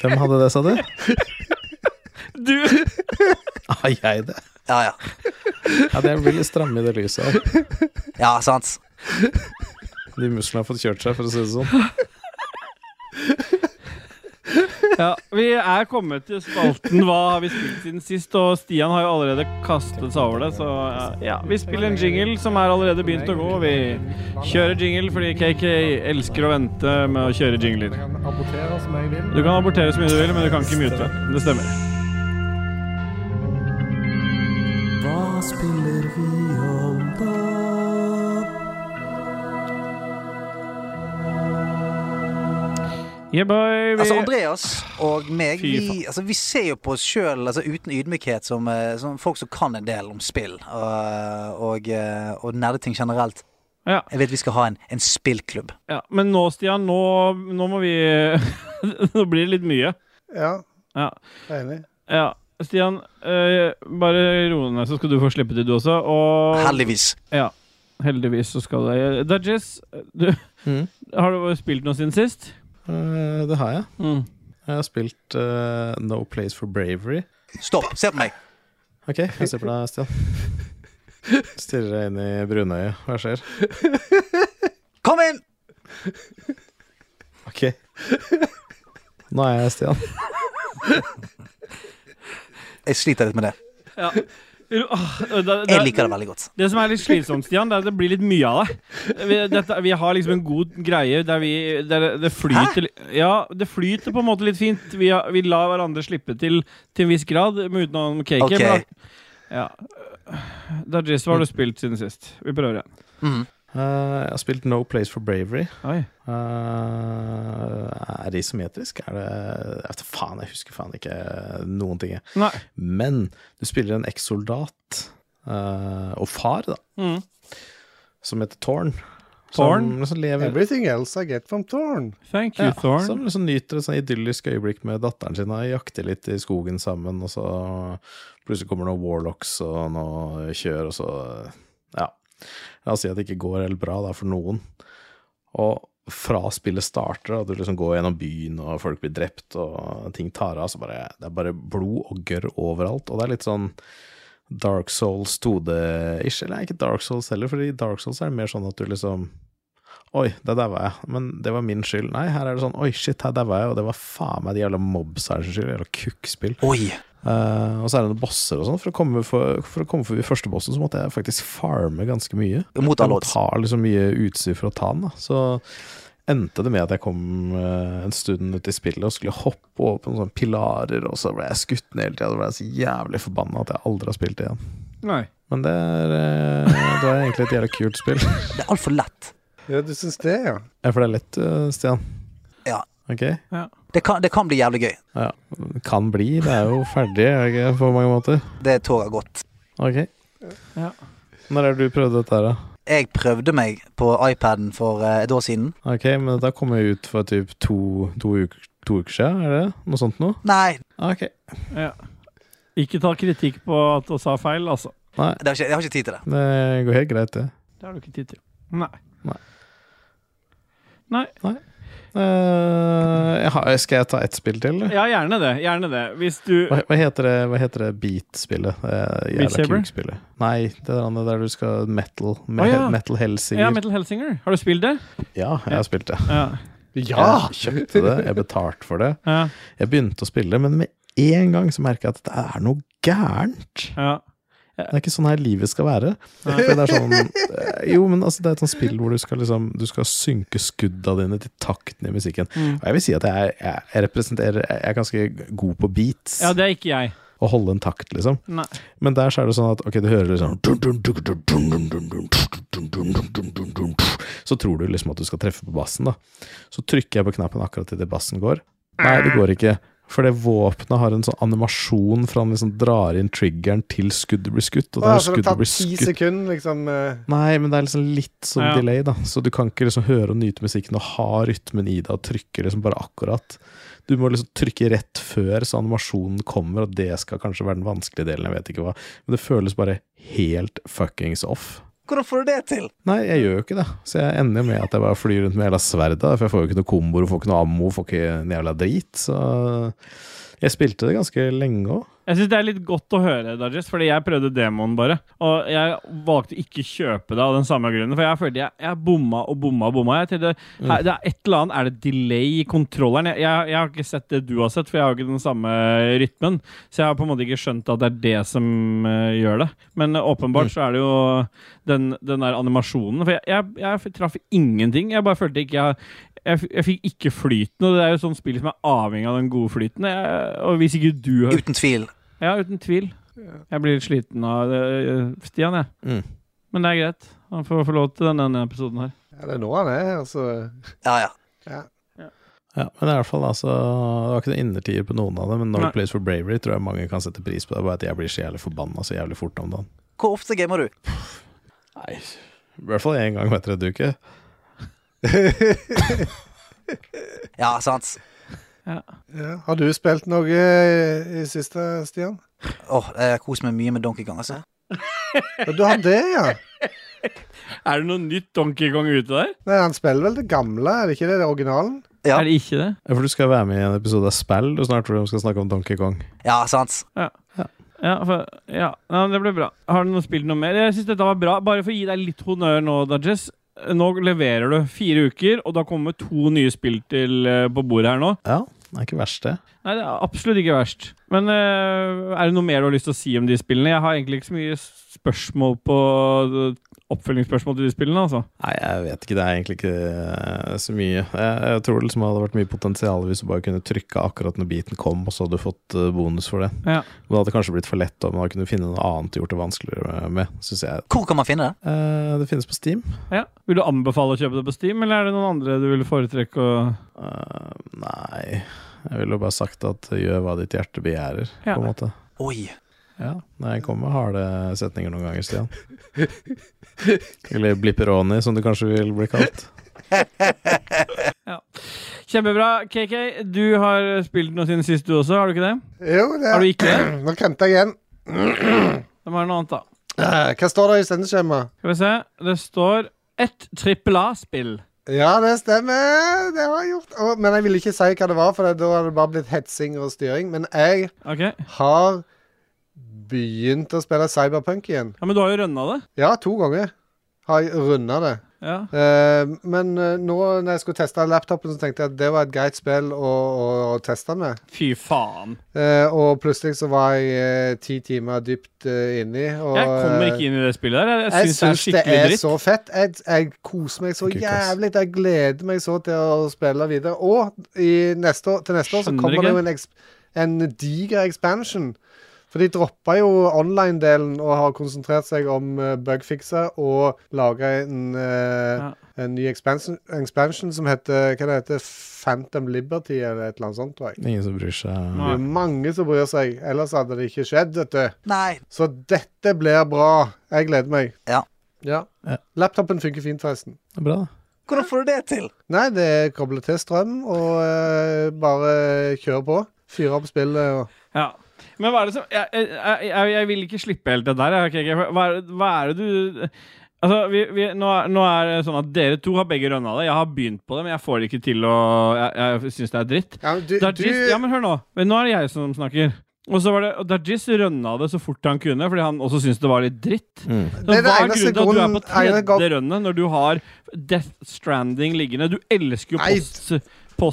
S3: Hvem hadde det, sa du?
S1: Du!
S3: Har Ah, jeg det?
S4: Ja, ja.
S3: Ja, det blir litt stramme i det lyset. her.
S4: Ja, sant.
S3: De musklene har fått kjørt seg, for å si det sånn.
S1: Ja, vi er kommet til spalten Hva har vi spilt siden sist? Og Stian har jo allerede kastet seg over det, så eh, ja. Vi spiller en jingle som er allerede begynt å gå. Vi kjører jingle fordi KK elsker å vente med å kjøre jingler.
S2: kan abortere som jeg vil.
S1: Du kan abortere så mye du vil, men du kan ikke mute. Det stemmer. Yeah, boy, vi...
S4: Altså, Andreas og meg,
S1: Fy faen.
S4: vi, altså, vi ser jo på oss sjøl altså, uten ydmykhet som, eh, som folk som kan en del om spill og, og, eh, og nerdeting generelt.
S1: ja.
S4: Jeg vet vi skal ha en, en spillklubb.
S1: Ja, men nå, Stian, nå, nå må vi Nå blir det litt mye.
S2: Ja,
S1: Ja.
S2: jeg er enig.
S1: ja. Stian, eh, bare ro ned, så skal du få slippe til, du også. Og
S4: Heldigvis.
S1: ja, heldigvis så skal det Dajis, du
S3: Mm.
S1: har du spilt noe siden sist?
S3: Eh, det har jeg.
S1: Mm.
S3: Jeg har spilt eh, No Place for Bravery.
S4: Stopp, se på meg.
S3: Ok, jeg ser på deg, Stian. Stirrer deg inn i brunøyet. Hva skjer?
S4: Kom inn!
S3: Ok. Nå er jeg Stian.
S4: Jeg sliter litt med det.
S1: Ja. Ro- ah, da- da-
S4: Jeg liker det veldig godt.
S1: Det som er litt slitsomt, Stian, det er at det blir litt mye av det. Vi, dette, vi har liksom en god greie der vi der det flyter li- Ja, det flyter på en måte litt fint. Vi, har, vi lar hverandre slippe til til en viss grad, med utenom cake.
S4: Ok.
S1: men- Ja. Dajis, hva har du spilt siden sist? Vi prøver igjen.
S4: Mm.
S3: Eh, jeg har spilt No Place for Bravery.
S1: Oi.
S3: Eh, er det isometrisk? Er det jeg vet, Faen, jeg husker faen ikke noen ting. jeg.
S1: Nei.
S3: Men du spiller en ekssoldat eh, og far, da,
S1: Mm.
S3: som heter Tårn.
S1: Thorn?
S3: Som liksom lever
S2: Everything else I get from Torn.
S1: Thank you,
S3: ja,
S1: Thorn.
S3: Som liksom nyter et sånn idyllisk øyeblikk med datteren sin og jakter litt i skogen sammen, og så plutselig kommer noen warlocks og noe kjør, og så Ja. La oss si at det ikke går helt bra da, for noen. Og fra spillet starter, at du liksom går gjennom byen og folk blir drept og ting tar av, så bare Det er bare blod og gørr overalt, og det er litt sånn Dark Souls 2D-ish, eller ikke Dark Souls heller, for i Dark Souls er det mer sånn at du liksom Oi, der daua jeg, men det var min skyld. Nei, her er det sånn Oi, shit, her daua jeg, og det var faen meg de jævla mobserne sin skyld. Jævla kukkspill.
S4: Oi!
S3: Eh, og så er det noen bosser og sånn. For, å komme for, for å komme forbi første bossen, så måtte jeg faktisk farme ganske mye.
S4: Mot
S3: Jeg
S4: alle
S3: må
S4: odds.
S3: ta liksom mye utstyr for å ta den, da. Så endte det med at jeg kom eh, en stund ut i spillet og skulle hoppe over på noen sånne pilarer, og så ble jeg skutt ned hele tida. Da ble jeg så jævlig forbanna at jeg aldri har spilt det igjen.
S1: Nei.
S3: Men det er, eh, det er egentlig et jævla kult spill.
S4: Det er altfor lett.
S2: Ja, du syns det, ja?
S3: Ja, for det er lett, eh, Stian.
S4: Ja.
S3: Ok?
S4: Det kan, det kan bli jævlig gøy.
S3: Ja, kan bli. Det er jo ferdig er det ikke, på mange måter.
S4: Det toget har gått.
S3: Ok.
S1: Ja.
S3: Når er det du prøvde dette her, da?
S4: Jeg prøvde meg på iPaden for eh, et år siden.
S3: Ok, men dette kom jo ut for typ to, to, uker, to uker siden, er det? Noe sånt noe?
S4: Nei,
S3: Ok.
S1: Ja. Ikke ta kritikk på at du sa feil, altså.
S4: det har ikke, jeg har ikke tid til det.
S3: Det går helt greit, det.
S1: Det har du ikke tid til. Nei.
S3: Eh, jeg har, skal jeg ta ett spill til? eller?
S1: Ja, gjerne det. Gjerne det. Hvis du
S3: Hva, hva heter det, hva heter det beat-spillet? Eh,
S1: Beat
S3: Jævla
S1: Saber?
S3: kukspillet. Nei, det der andre der du skal metal. Me
S1: Å, ja.
S3: Metal Hellsinger.
S1: Ja,
S3: Ja,
S1: Metal Hellsinger. Har du spilt det?
S3: jeg har spilt det.
S1: Ja.
S3: Jeg kjøpte det, jeg betalte for det.
S1: ja.
S3: Jeg begynte å spille, men med en gang så merker jeg at det er noe gærent.
S1: ja.
S3: Det er ikke sånn her livet skal være.
S1: Nei.
S3: For det er sånn, eh, jo, men altså, det er et sånt spill hvor du skal, liksom, du skal synke skudda dine til takten i musikken.
S1: Mm.
S3: Og jeg vil si at jeg, jeg, jeg representerer Jeg er ganske god på beats.
S1: ja, det er ikke jeg.
S3: Å holde en takt, liksom.
S1: Nei.
S3: Men der så er det sånn at ok, du hører liksom Så tror du liksom at du skal treffe på bassen, da. Så trykker jeg på knappen akkurat idet bassen går. Nei, det går ikke. For det våpenet har en sånn animasjon for han liksom drar inn triggeren til skuddet blir skutt. Og
S2: Å, ja,
S3: der
S2: så det
S3: skuddet
S2: tar
S3: blir
S2: ti
S3: skutt
S2: sekunder, liksom. eh,
S3: Nei, men det er liksom litt sånn
S1: Ja.
S3: delay, da. Så du kan ikke liksom høre og nyte musikken og ha rytmen i deg og trykke liksom bare akkurat. Du må liksom trykke rett før så animasjonen kommer, og det skal kanskje være den vanskelige delen, jeg vet ikke hva. Men det føles bare helt fuckings off.
S4: Hvordan får du det til?
S3: Nei, jeg gjør jo ikke det. Så jeg ender jo med at jeg bare flyr rundt med hele sverdet, da, for jeg får jo ikke noe komboer, får ikke noe ammo, får ikke en jævla drit. Så jeg spilte det ganske lenge òg.
S1: Jeg syns det er litt godt å høre, Dajis, fordi jeg prøvde demoen bare. Og jeg valgte ikke å kjøpe det av den samme grunnen, for jeg følte jeg, jeg bomma og bomma og bomma. Jeg tenkte, her, det er et eller annet, er det delay i kontrolleren? Jeg, jeg, jeg har ikke sett det du har sett, for jeg har jo ikke den samme rytmen. Så jeg har på en måte ikke skjønt at det er det som eh, gjør det. Men eh, åpenbart så er det jo den, den der animasjonen. For jeg, jeg, jeg traff ingenting. Jeg bare følte ikke jeg jeg, f- jeg fikk ikke flyten, og det er jo et sånt spill som er avhengig av den gode flyten. Jeg, og hvis ikke du har
S4: Uten tvil.
S1: ja, uten tvil. Jeg blir litt sliten av det, øh, Stian, jeg.
S3: Mm.
S1: Men det er greit. Han får få lov til denne, denne episoden her.
S2: Ja, det er nå han er altså. her, så
S4: Ja, ja.
S3: Ja, men i alle fall altså, Det var ikke noen innertier på noen av det, men No
S1: Nei.
S3: Place for Bravery tror jeg mange kan sette pris på. Det er bare at jeg blir så jævlig forbanna så jævlig fort om dagen.
S4: Hvor ofte gamer du?
S3: Nei, i hvert fall én gang hver tredje uke.
S4: Ja, sant.
S2: ja. Har du spilt noe eh, i siste, Stian?
S4: Åh, jeg koser meg mye med Donkey Kong, altså.
S2: Ja, Du har det, ja?
S1: Er det noe nytt Donkey Kong ute der?
S2: Nei, Han spiller vel det gamle, er det ikke det? Det originalen?
S4: Ja,
S1: Er det ikke det?
S3: Ja, For du skal være med i en episode av Spell, og snart tror jeg de skal snakke om Donkey Kong.
S4: ja sant.
S1: Ja, for, ja. Nei, men det ble bra. Har du noe spilt noe mer? Jeg syns dette var bra. Bare for å gi deg litt honnør nå, Dajess. Nå leverer du fire uker, og da kommer to nye spill til øh, på bordet her nå.
S3: Ja, det er ikke verst, det.
S1: Nei, det er absolutt ikke verst. Men eh, øh, er det noe mer du har lyst til å si om de spillene? Jeg har egentlig ikke så mye spørsmål på øh, oppfølgingsspørsmål til de spillene, altså.
S3: Nei, jeg vet ikke. Det er egentlig ikke eh, så mye. Jeg, jeg tror det liksom hadde vært mye potensial hvis du bare kunne trykka akkurat når biten kom, og så hadde du fått eh, bonus for det.
S1: Ja.
S3: Men det hadde kanskje blitt for lett om man kunne finne noe annet og gjort det vanskeligere med, syns jeg.
S4: Hvor kan man finne det?
S3: Eh, det finnes på Steam.
S1: Ja. Vil du anbefale å kjøpe det på Steam, eller er det noen andre du ville foretrekke å
S3: Eh, nei Jeg ville jo bare sagt at gjør hva ditt hjerte begjærer,
S1: Ja.
S3: på en måte.
S4: Oi.
S3: Ja, nei, jeg kommer med harde setninger noen ganger, Stian. Eller blipperoni, som det kanskje vil bli kalt.
S1: Kjempebra. KK, du har spilt noe siden sist, du også, har du ikke det?
S2: Jo, det
S1: Har du ikke det?
S2: Nå kremter jeg igjen.
S1: Da må jeg ha noe annet, da.
S2: Eh, Hva står det i sendeskjemaet?
S1: Skal vi se. Det står ett trippel A-spill.
S2: Ja, det stemmer. Det har jeg gjort. Å, men jeg ville ikke si hva det var, for da hadde det bare blitt hetsing og styring. Men jeg
S1: Ok. Ja,
S2: har begynt å spille Cyberpunk igjen.
S1: Men du har jo rønna det.
S2: Ja, to ganger har jeg runda det.
S1: Ja.
S2: Eh, men eh, nå når jeg skulle teste laptopen, så tenkte jeg at det var et greit spill å, å, å teste med.
S1: Fy faen.
S2: Eh, og plutselig så var jeg eh, ti timer dypt eh, inni. Og,
S1: Jeg kommer ikke
S2: eh,
S1: inn i det spillet der. Jeg,
S2: Jeg
S1: jeg syns det er skikkelig dritt.
S2: så fett. Jeg, jeg koser meg så
S3: Kukas.
S2: jævlig. Jeg gleder meg så til å spille videre. Og i neste år, til neste år så
S1: Skjønner
S2: kommer
S1: ikke.
S2: det jo en, eksp en diger expansion. For de droppa jo online-delen og har konsentrert seg om eh, bugfixer og laga en, eh,
S1: Ja.
S2: en ny expansion, expansion som heter Hva det heter Phantom Liberty eller et eller annet sånt, tror jeg.
S3: Ingen som bryr seg.
S2: Det er mange som bryr seg. Ellers hadde det ikke skjedd, vet du.
S4: Nei.
S2: Så dette blir bra. Jeg gleder meg.
S4: Ja.
S3: Ja.
S2: Laptopen funker fint, forresten.
S3: Det er bra, da.
S4: Hvordan får du det til?
S2: Nei, det er koble til strøm og eh, bare kjøre på. Fyre opp spillet og
S1: Ja. Men hva er det som Jeg, jeg, jeg, jeg vil ikke slippe helt det der. jeg, KK. Hva, er- hva er det du Altså, vi, vi, nå, er- nå er det sånn at dere to har begge rønna det. Jeg har begynt på det, men jeg får det ikke til å Jeg, jeg syns det er dritt.
S2: Ja, men du, du
S1: Dargis, ja, men hør nå. Men nå er det jeg som snakker. Og så var det, og Dargis rønna det så fort han kunne, fordi han også syntes det var litt dritt. Så
S2: Det er det
S1: Hva er grunnen
S2: eneste
S1: til at du er på
S2: grunnen- eneste
S1: tredje
S2: gang-
S1: rønnet når du har Death Stranding liggende? Du elsker jo
S2: Nei,
S1: post,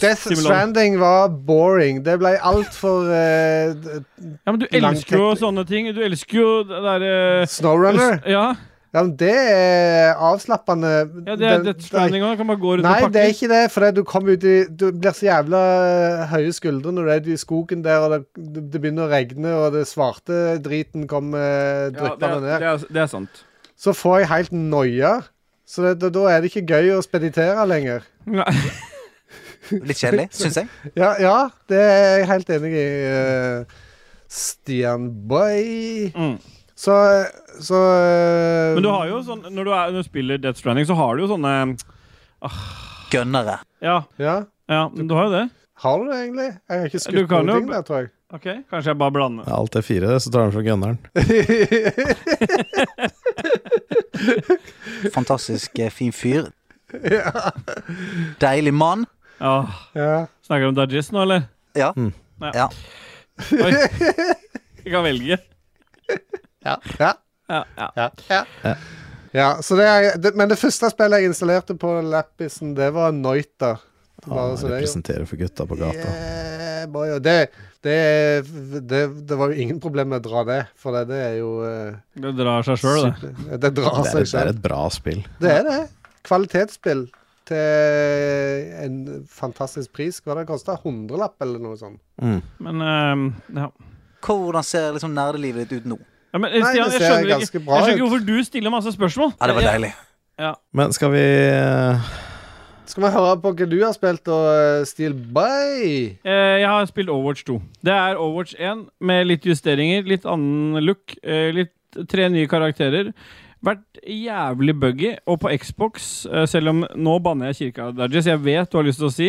S2: Death
S1: postsimulon.
S2: Stranding var boring. Det ble altfor uh,
S1: Ja, men du
S2: lang
S1: elsker jo
S2: teknikk.
S1: sånne ting. Du elsker jo det derre
S2: Snowrunner.
S1: Ja,
S2: Ja, men det er avslappende.
S1: ja, det er
S2: Den-
S1: Death Stranding òg. Kan bare gå rundt
S2: Nei,
S1: og
S2: det er
S1: pakke.
S2: ikke det, for du kommer ut i Du blir så jævla eh, høye skuldre når du er ute i skogen der, og det, det begynner å regne, og det svarte driten kommer
S1: Ja, det,
S2: dryppende
S1: er,
S2: ned.
S1: det, er, det er sant.
S2: så får jeg helt noia. Så det, da, da er det ikke gøy å speditere lenger.
S1: Nei.
S4: Litt kjedelig, syns jeg.
S2: Ja, ja det er jeg helt enig i. eh, Stian Boy.
S1: Mm.
S2: Så, så eh,
S1: Men du har jo sånn Når du, er, når du spiller Death Stranding, så har du jo sånne
S4: Gønnere.
S1: Ja,
S2: Ja.
S1: ja men du har jo det.
S2: Har du det egentlig? Jeg har ikke
S1: Du
S2: skutt
S1: kan
S2: noen
S1: jo-
S2: ting der, tror jeg.
S1: Ok, Kanskje jeg bare blander.
S3: Ja, Alt er fire, så tar han fra gunneren.
S4: Fantastisk eh, fin fyr. Deilig mann.
S1: Åh,
S2: Ja.
S1: snakker du om Dajis nå, eller?
S4: Ja.
S3: Mm.
S1: Ja.
S4: ja.
S1: Oi. Vi kan velge.
S2: Ja.
S1: Ja, ja.
S2: Ja.
S3: Ja.
S2: ja så det er, det, men det første spillet jeg installerte på lappisen, det var Noita.
S3: Han
S2: Bare så det er jo-
S3: representerer for gutta Ah, på gata.
S2: Yeah, boy, og det, det, det, det var jo ingen problem med å dra det, for det, det er jo eh,
S1: Det drar seg sjøl, det.
S2: super- Det drar
S3: Det er,
S2: seg
S3: et, det er
S2: selv.
S3: et bra spill.
S2: Det er det. Kvalitetsspill til en fantastisk pris. Hva det kosta? Hundrelapp eller noe sånt?
S3: Mm.
S1: Men ehm, ja.
S4: Hvordan ser liksom nerdelivet ditt ut nå?
S1: ja men,
S2: Nei,
S1: Stian, jeg
S2: det ser
S1: skjønner,
S2: ganske
S1: ikke, jeg
S2: bra
S1: skjønner ikke
S2: ut.
S1: hvorfor du stiller masse spørsmål.
S4: Ja, det var
S1: Jeg-
S4: deilig.
S3: Men skal vi eh,
S2: Skal vi høre på hva du har spilt, og eh, Steel Bay?
S1: Eh, Jeg har spilt Overwatch 2. Det er Overwatch 1 med litt justeringer, litt annen look, eh, litt tre nye karakterer. Vært jævlig buggy, og på Xbox, eh, selv om nå banner jeg kirka, Dajis, jeg vet du har lyst til å si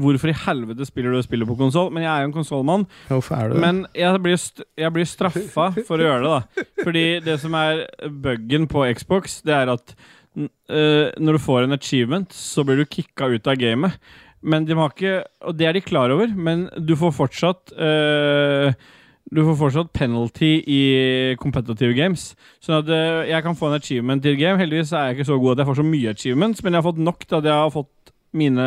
S1: hvorfor i helvete spiller du og spiller på konsoll, men jeg er jo en konsollmann,
S3: Hvorfor er du det?
S1: men jeg blir, st jeg blir straffa for å gjøre det, da. Fordi det som er buggen på Xbox, det er at n- eh, når du får en achievement, så blir du kicka ut av gamet. Men de har ikke Og det er de klar over, men du får fortsatt eh, du får fortsatt penalty i competitive games. Sånn at eh, jeg kan få en achievement til game. Heldigvis er jeg ikke så god at jeg får så mye achievements, men jeg har fått nok til at jeg har fått mine,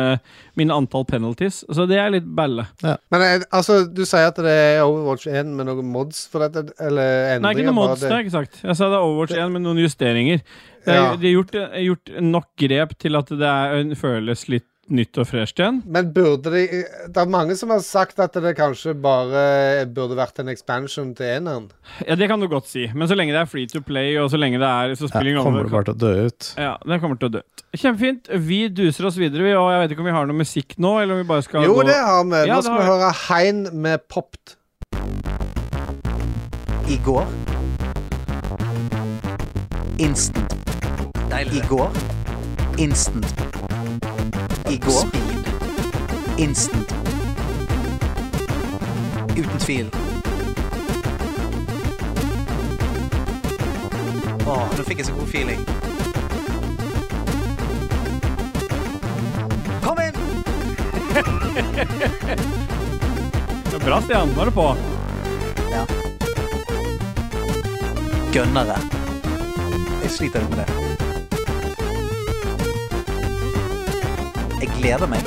S1: mine antall penalties. Så det er litt balle.
S2: Men eh, altså, du sier at det er Overwatch 1 med noen mods for dette? Eller endringer?
S1: Nei, ikke noe
S2: bare
S1: mods, det har jeg ikke sagt. Jeg sa det er Overwatch 1 med noen justeringer. Det er,
S2: Ja.
S1: det er gjort, gjort nok grep til at det er, føles litt nytt og fresht igjen.
S2: Men burde de Det er mange som har sagt at det kanskje bare eh, burde vært en expansion til eneren.
S1: Ja, Det kan du godt si, men så lenge det er free to play, og så lenge det er så spiller
S3: Her
S1: ingen
S3: kommer
S1: rolle.
S3: det bare til å dø ut.
S1: Ja, det kommer til å dø. Kjempefint. Vi duser oss videre, vi, og jeg vet ikke om vi har noe musikk nå, eller om vi bare skal
S2: Jo,
S1: gå
S2: det har vi.
S1: Ja,
S2: Nå
S1: det
S2: skal vi
S1: har
S2: høre Hein med Popped.
S4: I går. Instant. I går. Instant. I går. Speed. Instant. Uten tvil. Åh, nå fikk jeg så god feeling. Kom inn!
S1: Bra, Stian. Nå er du på.
S4: Ja. Gønnere. Jeg sliter litt med det. Jeg gleder meg.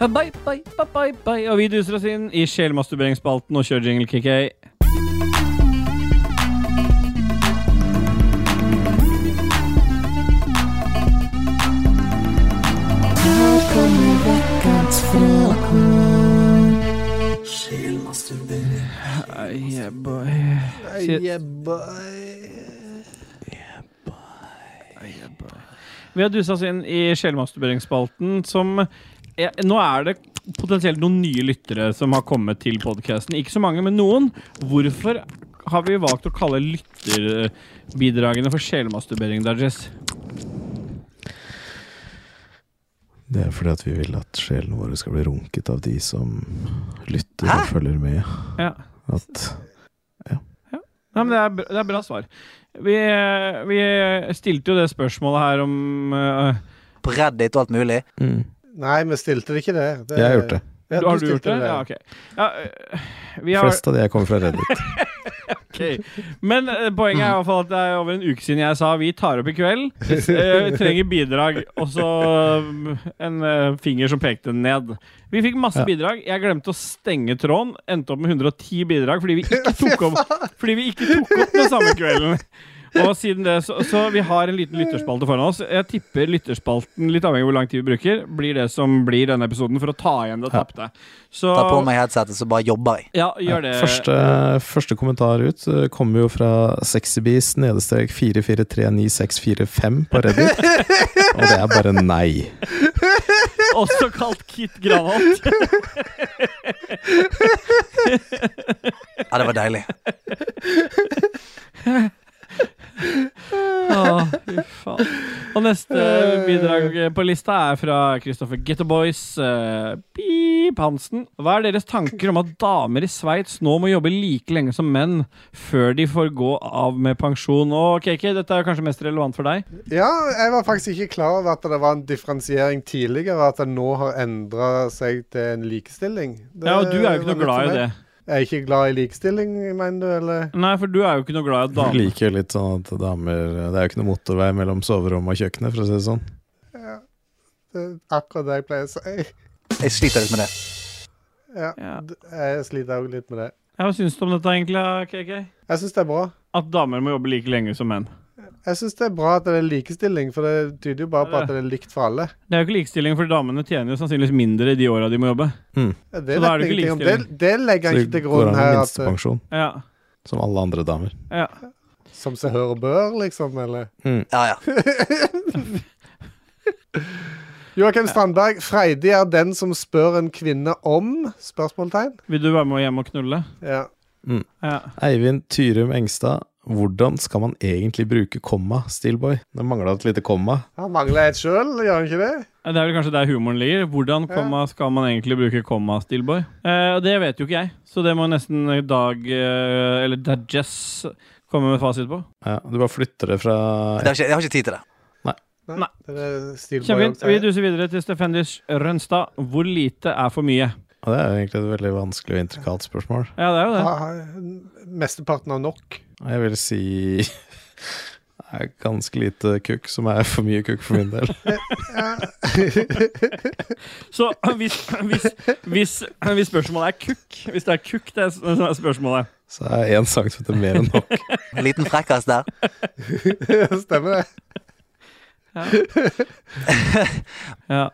S1: Bye, bye, bye, bye, bye. Og vi duser oss inn i sjelmasturberingsspalten og kjører jingle, KK. Yeah, boy. Shit.
S2: Yeah, boy.
S1: Vi har dusa oss inn i sjelmasturberingsspalten, som ja, Nå er det potensielt noen nye lyttere som har kommet til podkasten. Ikke så mange, men noen. Hvorfor har vi valgt å kalle lytterbidragene for sjelmasturbering, Dajess?
S3: Det er fordi at vi vil at sjelen vår skal bli runket av de som lytter og følger med.
S1: Ja.
S3: At
S1: Nei, men det er, br- det er bra svar. Vi, eh, vi stilte jo det spørsmålet her om eh,
S4: På Reddit og alt mulig.
S2: Nei, vi stilte det ikke det. det
S3: mm. Jeg har gjort det.
S2: Ja,
S1: Har du
S2: stilte
S1: gjort det? Ja, ok. Ja, eh, vi har,
S3: Flest av de jeg kommer fra Reddit.
S1: Ok. Men eh, poenget er i hvert fall at det er over en uke siden jeg sa vi tar opp i kveld. Eh, trenger bidrag. Og så mm, en eh, finger som pekte ned. Vi fikk masse bidrag. Jeg glemte å stenge tråden. Endte opp med 110 bidrag fordi vi ikke tok opp, fordi vi ikke tok opp den samme kvelden. Og siden det, så, så vi har en liten lytterspalte foran oss. Jeg tipper lytterspalten, litt avhengig av hvor lang tid vi bruker, blir det som blir denne episoden for å ta igjen det tapte. Så
S4: Ta på meg headsetet, så bare jobber jeg.
S1: ja, gjør det.
S3: Første, første kommentar ut eh, kommer jo fra Sexybees nedestrek 443965 på Reddit. Og det er bare nei.
S1: Også kalt Kit Granat.
S4: Ja, det var deilig.
S1: Åh, fy faen. Og neste bidrag eh, på lista er fra Kristoffer Gettoboys. eh, Pip Hansen. Hva er deres tanker om at damer i Sveits nå må jobbe like lenge som menn før de får gå av med pensjon? Og KK, dette er kanskje mest relevant for deg.
S2: Ja, jeg var faktisk ikke klar over at det var en differensiering tidligere, at det nå har endra seg til en likestilling. Det
S1: Ja, og du er jo ikke noe
S2: var nytt
S1: glad i
S2: for meg.
S1: det.
S2: Jeg er ikke glad i likstilling, mener du, eller?
S1: Nei, for du er jo ikke noe glad i
S3: Du
S1: damer.
S3: liker jo litt sånn at damer Det er jo ikke noe motorvei mellom soverommet og kjøkkenet, for å si det sånn.
S2: Det er akkurat det jeg pleier å si.
S4: Jeg sliter litt med det.
S2: Ja,
S1: Ja.
S2: d- jeg sliter òg litt med det.
S1: Ja, Hva syns du om dette egentlig, KK?
S2: Jeg syns det er bra.
S1: At damer må jobbe like lenge som menn.
S2: Jeg syns det er bra at det er likestilling, for det tyder jo bare på at det er likt for alle.
S1: Det er jo ikke likestilling, for damene tjener jo sannsynligvis mindre i de åra de må jobbe.
S2: Ja,
S1: Så
S2: Det
S1: da er
S2: vet
S1: det
S2: jeg
S1: ikke
S2: ingenting om.
S1: likestilling.
S2: Det, det legger
S3: Så
S2: jeg ikke
S3: det
S2: til
S3: går
S2: grunn
S3: an med
S2: her, at,
S3: minstepensjon,
S1: Ja,
S3: som alle andre damer.
S1: ja.
S2: eh, som seg hør og bør, liksom, eller?
S4: Ja, ja.
S2: Joakim Strandberg, freidig er den som spør en kvinne om? Spørsmålstegn.
S1: Vil du være med hjem og knulle?
S2: Ja.
S1: Ja.
S3: Eivind Tyrum Engstad, Hvordan skal man egentlig bruke komma, Steelboy? Det mangla et lite komma.
S2: Han mangler et sjøl, gjør han ikke det?
S1: Det er vel kanskje der humoren ligger. Hvordan komma skal man egentlig bruke komma, Steelboy? Eh, og det vet jo ikke jeg, så det må nesten Dag eh, eller Dajess komme med fasit på.
S3: Ja, du bare flytter det fra
S4: Det har ikke, jeg har ikke tid til det.
S1: Nei.
S2: Det er det stil på
S1: Kjempefint.
S2: jobb,
S1: Vi
S2: sier jeg.
S1: duser videre til Stefendis Rønstad. Hvor lite er for mye?
S3: Ja, Det er jo egentlig et veldig vanskelig og intrikat spørsmål.
S1: Ja, det er jo det.
S2: Ha- ha- Mesteparten av nok.
S3: Jeg vil si det er ganske lite kukk, som er for mye kukk for min del.
S1: Så eh, hvis, hvis, hvis, eh, hvis spørsmålet er kukk Hvis det er kukk, det er s- som er spørsmålet.
S3: Så er én centimeter mer enn nok.
S4: En liten frekkas der.
S2: Stemmer det.
S1: Ja.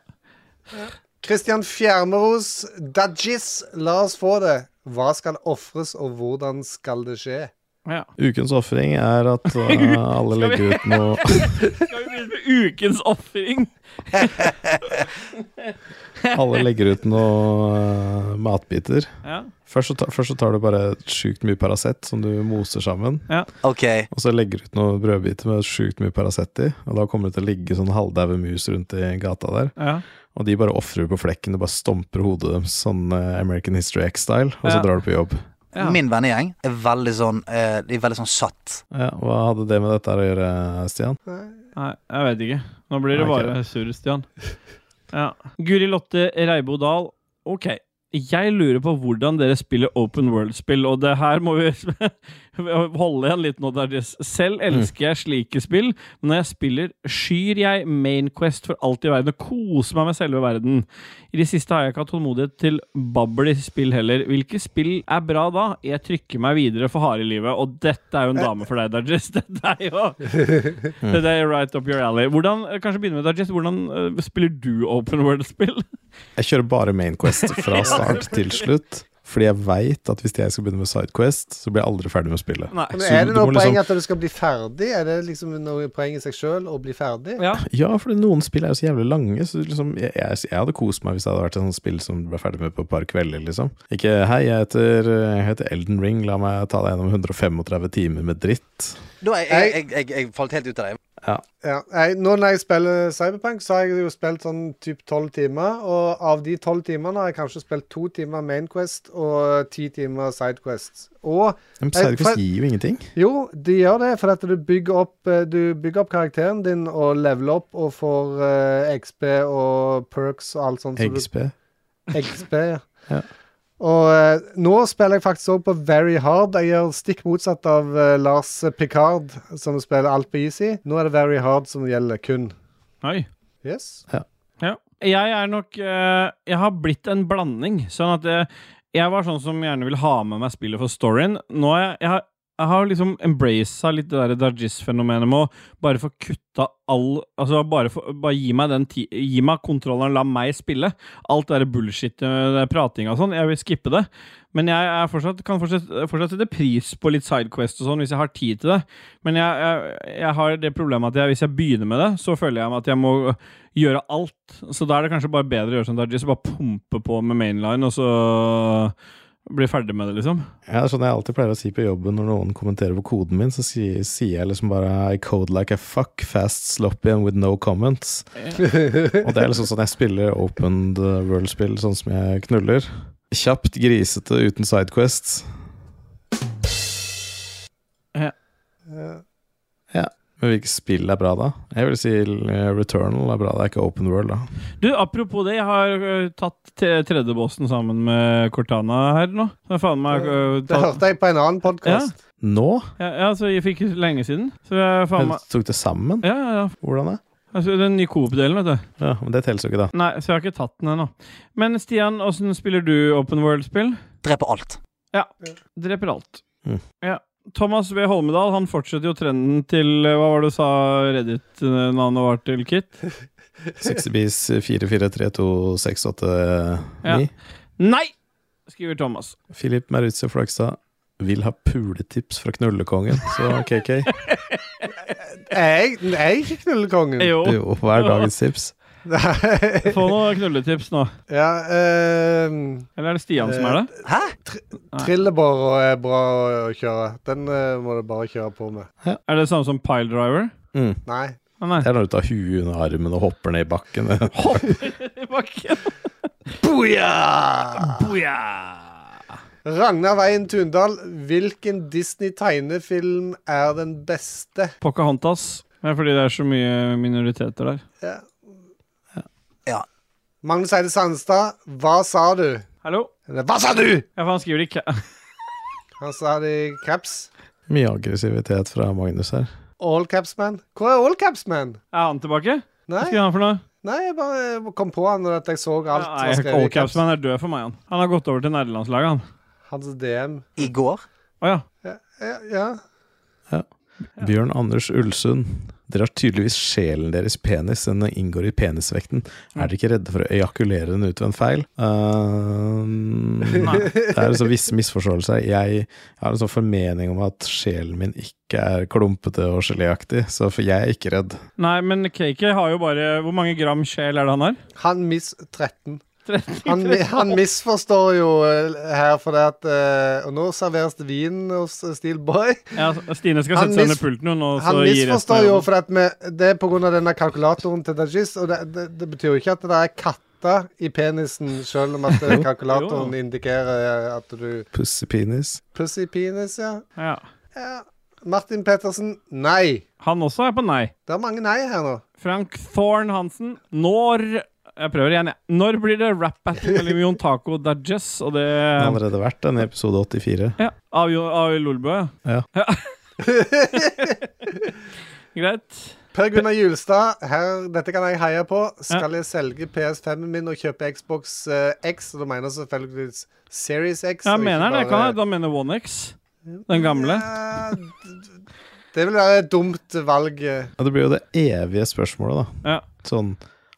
S2: Kristian Fjermeros, Dajis, la oss få det. Hva skal ofres, og hvordan skal det skje?
S1: ja.
S3: Ukens ofring er at uh, alle
S1: Skal vi-
S3: legger ut noe
S1: Skal vi begynne med ukens ofring?
S3: Alle legger ut noe uh, matbiter.
S1: Ja.
S3: Først så, ta, først så tar du bare sjukt mye Paracet som du moser sammen.
S4: Ok.
S3: Og så legger du ut noen brødbiter med sjukt mye Paracet i. Og da kommer det til å ligge sånn halvdaue mus rundt i gata der.
S1: Ja.
S3: Og de bare ofrer du på flekken. Du bare stomper hodet deres sånn eh, American History X-style, og så
S1: Ja.
S3: drar du på jobb.
S1: Ja.
S4: Min vennegjeng er veldig sånn eh, De er veldig sånn satt.
S3: Ja, hva hadde det med dette her å gjøre, Stian?
S1: Nei, jeg vet ikke. Nå blir det
S3: Nei, ikke
S1: bare surr, Stian. Ja. Guri Lotte Reibo Dahl. Ok. Jeg lurer på hvordan dere spiller open world-spill, og det her må vi holde igjen litt nå. der.
S3: Mm.
S1: Selv elsker jeg slike spill, men når jeg spiller, skyr jeg Main Quest for alt i verden og koser meg med selve verden. I det siste har jeg ikke hatt tålmodighet til babbel i spill heller. Hvilke spill er bra da? Jeg trykker meg videre for harde livet, og dette er jo en dame for deg, Dajis. Dette er jo det er right up your alley. Hvordan, eh, kanskje begynne med Dajis, hvordan eh, spiller du open world-spill?
S3: Jeg kjører bare Main Quest fra start til slutt. Fordi jeg veit at hvis jeg skal begynne med Sidequest, så blir jeg aldri ferdig med spillet.
S1: Nei.
S2: Men
S3: Så
S2: er det
S3: du
S2: noe
S3: må
S2: poeng
S3: liksom-
S2: at du skal bli ferdig? Er det liksom noe poeng i seg sjøl å bli ferdig?
S1: Ja.
S3: Ja, fordi noen spill er jo så jævlig lange, så liksom, jeg, jeg, jeg hadde kost meg hvis det hadde vært et sånt spill som ble ferdig med på et par kvelder, liksom. Ikke 'hei, jeg heter, jeg heter Elden Ring, la meg ta deg gjennom 135 timer med dritt'.
S4: Da jeg, jeg, jeg, jeg, jeg falt helt ut av det.
S2: Ja. Nei, nå når jeg spiller Cyberpunk, så har jeg jo spilt sånn typ tolv timer. Og av de tolv timene har jeg kanskje spilt to timer Mainquest og ti timer Sidequest. Og Jeg-
S3: Men
S2: for-
S3: Sidequest gir jo ingenting.
S2: Jo, de gjør det, for at du bygger opp eh, Du bygger opp karakteren din og leveler opp og får eh, XP og perks og alt sånt. som du-
S3: XP.
S2: XP, ja.
S3: Ja.
S2: Og eh, nå spiller jeg faktisk også på Very Hard. Jeg gjør stikk motsatt av eh, Lars Picard, som spiller alt på easy. Nå er det Very Hard som gjelder kun.
S1: Oi.
S2: Yes.
S1: Ja. Jeg er nok eh, Jeg har blitt en blanding. Sånn at eh, jeg var sånn som gjerne vil ha med meg spillet for storyen. Nå er jeg, jeg, har, jeg har liksom embracet litt det der Dargis-fenomenet med å bare få kutta all Altså bare, få- bare gi meg den ti, Gi meg kontrolleren, la meg spille. Alt det der bullshit, eh, det pratinga og sånn. Jeg vil skippe det. Men jeg er fortsatt, kan fortsatt, fortsatt sette pris på litt sidequest og sånn hvis jeg har tid til det. Men jeg, jeg, jeg har det problemet at jeg, hvis jeg begynner med det, så føler jeg at jeg må gjøre alt. Så da er det kanskje bare bedre å gjøre som Dajis og bare pumpe på med mainline, og så bli ferdig med det, liksom.
S3: Ja, det er sånn jeg alltid pleier å si på jobben når noen kommenterer på koden min, så sier, sier jeg liksom bare I code like a fuck, fast, sloppy and with no comments. Og det er liksom sånn jeg spiller open world-spill, sånn som jeg knuller. Kjapt, grisete, uten sidequests.
S2: Eh,
S3: Men hvilke spill er bra, da? Jeg vil si eh, Returnal er bra, det er ikke open world, da.
S1: Du, apropos det, jeg har ø, tatt te- tredjebåsen sammen med Cortana her nå. Så jeg faen meg ø,
S2: det
S1: tatt,
S2: hørte jeg på en annen podkast.
S3: Nå?
S1: ja, ja, så jeg fikk lenge siden. Så jeg faen
S3: Jeg
S1: meg
S3: tok det sammen?
S1: Ja, ja, ja.
S3: Hvordan det?
S1: Altså, den nye Coop-delen, vet du.
S3: Ja, men det teller jo ikke, da.
S1: Nei, så jeg har ikke tatt den ennå. Men Stian, åssen spiller du open world-spill?
S4: Dreper alt.
S1: Dreper alt.
S3: Mm.
S1: Ja. Thomas V. Holmedal han fortsetter jo trenden til eh, Hva var det du sa Reddit-navnet var til, Kit?
S3: 60bis 443268
S1: Ja. Nei! skriver Thomas.
S3: Filip Merutse Flagstad vil ha puletips fra knullekongen, så KK.
S2: Jeg, jeg er ikke knullekongen.
S1: Jo.
S3: Jo, hva er dagens tips?
S1: Få noen knulletips nå.
S2: ja, eh,
S1: Eller er det Stian som er det?
S4: Hæ?
S2: Trillebår er bra å kjøre. Den eh, må du bare kjøre på med.
S1: Er det samme som piledriver?
S3: Mm.
S2: Nei.
S1: Å nei.
S3: Det er når du tar huet under armen og hopper ned i bakken.
S2: Booyah! Ragnar Veien Tundal, hvilken Disney-tegnefilm er den beste?
S1: Pocahontas. Det er fordi det er så mye minoriteter der.
S2: Ja.
S4: Ja.
S2: Magnus Eide Sandstad, hva sa du?
S1: Hallo?
S2: Eller, hva sa du?!
S1: Ja, for han skriver det ikke.
S2: Han sa det i caps.
S3: Mye aggressivitet fra Magnus her.
S2: All caps man. Hvor er all caps man?
S1: Er han tilbake? Hva
S2: Nei,
S1: skriver han for noe?
S2: nei jeg bare kom på han når at jeg så alt.
S1: Ja,
S2: var
S1: nei,
S2: skrevet i caps.
S1: Allcapsman er død for meg, han. Han har gått over til nerdelandslaget, han.
S2: Hans DM.
S4: I går?
S1: Å ja.
S2: Ja, ja.
S3: Bjørn Anders Ulsund. Dere har tydeligvis sjelen deres penis, den inngår i penisvekten. Er dere ikke redde for å ejakulere den ut ved en feil? Ehm, det er en sånn viss misforståelse. Jeg, jeg har en sånn formening om at sjelen min ikke er klumpete og geléaktig, så for jeg er ikke redd.
S1: Nei, men Cakey har jo bare Hvor mange gram sjel er det han har?
S2: Han miss 13.
S1: 13?
S2: Han, mi- han misforstår jo eh, her for det at eh, Og nå serveres det vin hos Steelboy.
S1: Ja, Stine skal
S2: Han
S1: sette seg under
S2: mis-
S1: pulten, hun, og så
S2: Han
S1: gi resten av
S2: misforstår jo,
S1: jobben.
S2: for at vi- det er pga. denne kalkulatoren til Dajis. Og det, det, det betyr jo ikke at det er katter i penisen, selv om at eh, kalkulatoren
S1: Jo.
S2: indikerer eh, at du
S3: Pussy penis.
S2: Pussy penis, ja.
S1: ja.
S2: ja. Martin Pettersen, nei.
S1: Han også er på nei.
S2: Det er mange nei her nå.
S1: Frank Thorne Hansen, når Jeg prøver igjen, jeg. Når blir det rap battle mellom Jon Taco og Dajess og det
S3: Det har allerede vært den i episode 84.
S1: ja, Av, Jo- av Lolbø?
S3: Ja.
S1: Greit.
S2: Per Gunnar Julstad, her, dette kan jeg heie på. Skal jeg selge PS5-en min og kjøpe Xbox eh, X? Og da mener jeg selvfølgelig Series X.
S1: Ja,
S2: og ikke
S1: mener han det?
S2: bare-
S1: Kan jeg? Da mener One X. Den gamle.
S2: Ja, d- d- det vil være et dumt valg. eh.
S3: Ja, det blir jo det evige spørsmålet, da.
S1: Ja.
S3: Sånn,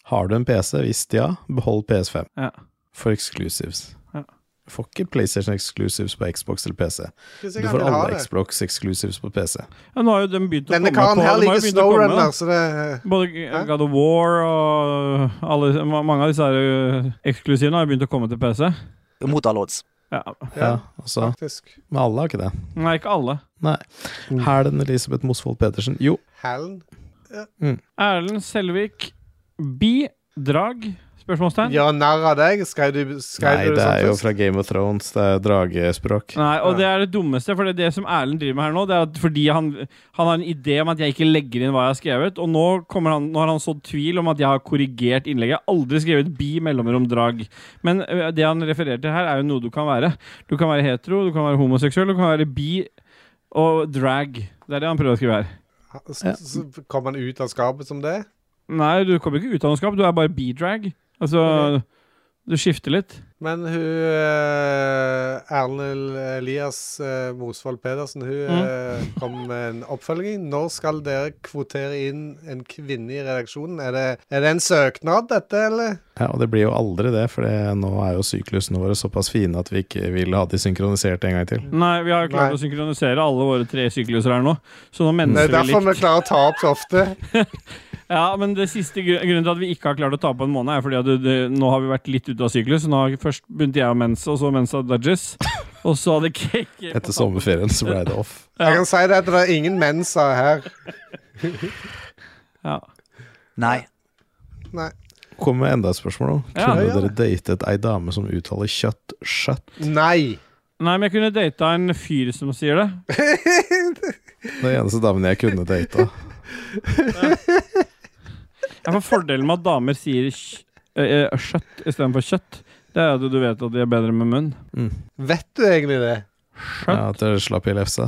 S3: har du en PC? Hvis ja, behold PS5.
S1: Ja.
S3: For exclusives.
S1: Ja.
S3: Du får ikke PlayStation exclusives på Xbox eller PC.
S2: Hvis
S3: Du
S2: jeg
S3: får
S2: vil ha
S3: alle
S2: det.
S3: Xbox exclusives på PC.
S1: ja, nå har jo de begynt å
S2: Denne
S1: komme
S2: karen
S1: på de
S2: her
S1: har
S2: liker
S1: jo begynt å komme, da.
S2: Snowrunner, så det
S1: Både God of War og alle, ma- mange av disse her ø, eksklusivene har jo begynt å komme til PC.
S4: Mot alle odds.
S1: Ja.
S3: Ja,
S2: Ja,
S3: altså.
S2: faktisk.
S3: Men alle har ikke det.
S1: Nei, ikke alle.
S3: Nei.
S2: Mm.
S3: Hælen Elisabeth Mosvold Petersen. Jo,
S2: Hallen.
S1: Erlend Selvik. Bidrag? Spørsmålstegn?
S2: Gjør narr av deg? Skrev du, skrev
S3: nei,
S2: du
S3: det er jo
S2: først?
S3: fra Game of Thrones. Det er dragespråk.
S1: Nei, og
S2: Ja.
S1: det er det dummeste, for det, er det som Erlend driver med her nå, det er at fordi han, han har en idé om at jeg ikke legger inn hva jeg har skrevet, og nå, kommer han, nå har han sådd tvil om at jeg har korrigert innlegget. Jeg har aldri skrevet bi mellomrom drag. Men ø, det han refererer til her, er jo noe du kan være. Du kan være hetero, du kan være homoseksuell, du kan være bi og drag. Det er det han prøver å skrive her.
S2: S- Så kom han ut av skapet som det?
S1: Nei, du kommer ikke ut av noe skap. Du er bare B-drag. Altså, du skifter litt.
S2: Men hun eh, Erlend Elias eh, Mosvold Pedersen, hun eh, kom med en oppfølging. Når skal dere kvotere inn en kvinne i redaksjonen? Er det, er det en søknad, dette, eller?
S3: Ja, og det blir jo aldri det, for det, nå er jo syklusene våre såpass fine at vi ikke vil ha de synkronisert en gang til.
S1: Nei, vi har jo klart
S2: Nei.
S1: å synkronisere alle våre tre sykluser her nå. Så nå
S2: Det
S1: menser
S2: er
S1: vi
S2: derfor vi
S1: likt.
S2: klarer å ta opp så ofte.
S1: Ja, men det siste gru- grunnen til at vi ikke har klart å ta på en måned, er fordi at det, det, nå har vi vært litt ute av syklus. Nå har Først begynte jeg å mense, og så mensa Dudges. Og så hadde Cake
S3: Etter sommerferien så ble det off.
S2: Jeg kan si det at det er ingen mensa her.
S1: Ja.
S4: Nei.
S2: Nei.
S3: Kom med enda et spørsmål nå.
S1: Ja,
S3: Kunne
S2: ja.
S3: dere datet ei dame som uttaler kjøtt skjøtt?
S2: Nei.
S1: Nei, men jeg kunne data en fyr som sier det.
S3: Den eneste damen jeg kunne data.
S1: Jeg får fordelen med at damer sier kj- ø, ø, skjøtt istedenfor kjøtt. Det er at du vet at de er bedre med munn.
S2: Vet du egentlig det?
S3: Ja, at dere slapp i lefsa.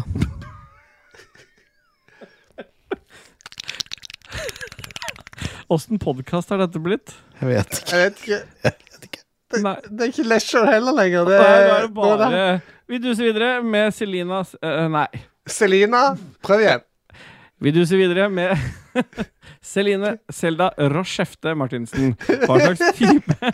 S1: Åssen podkast har dette blitt?
S3: Jeg vet ikke.
S2: Jeg vet ikke.
S1: Nei.
S2: Det er ikke Lesher heller lenger. Det
S1: Nei, da
S2: er,
S1: er det
S2: nå er
S1: bare Vi duser videre med Selinas eh, Nei.
S2: det- Selina, prøv igjen.
S1: Vi duser videre med Celine Selda Rochefte Martinsen. Hva slags type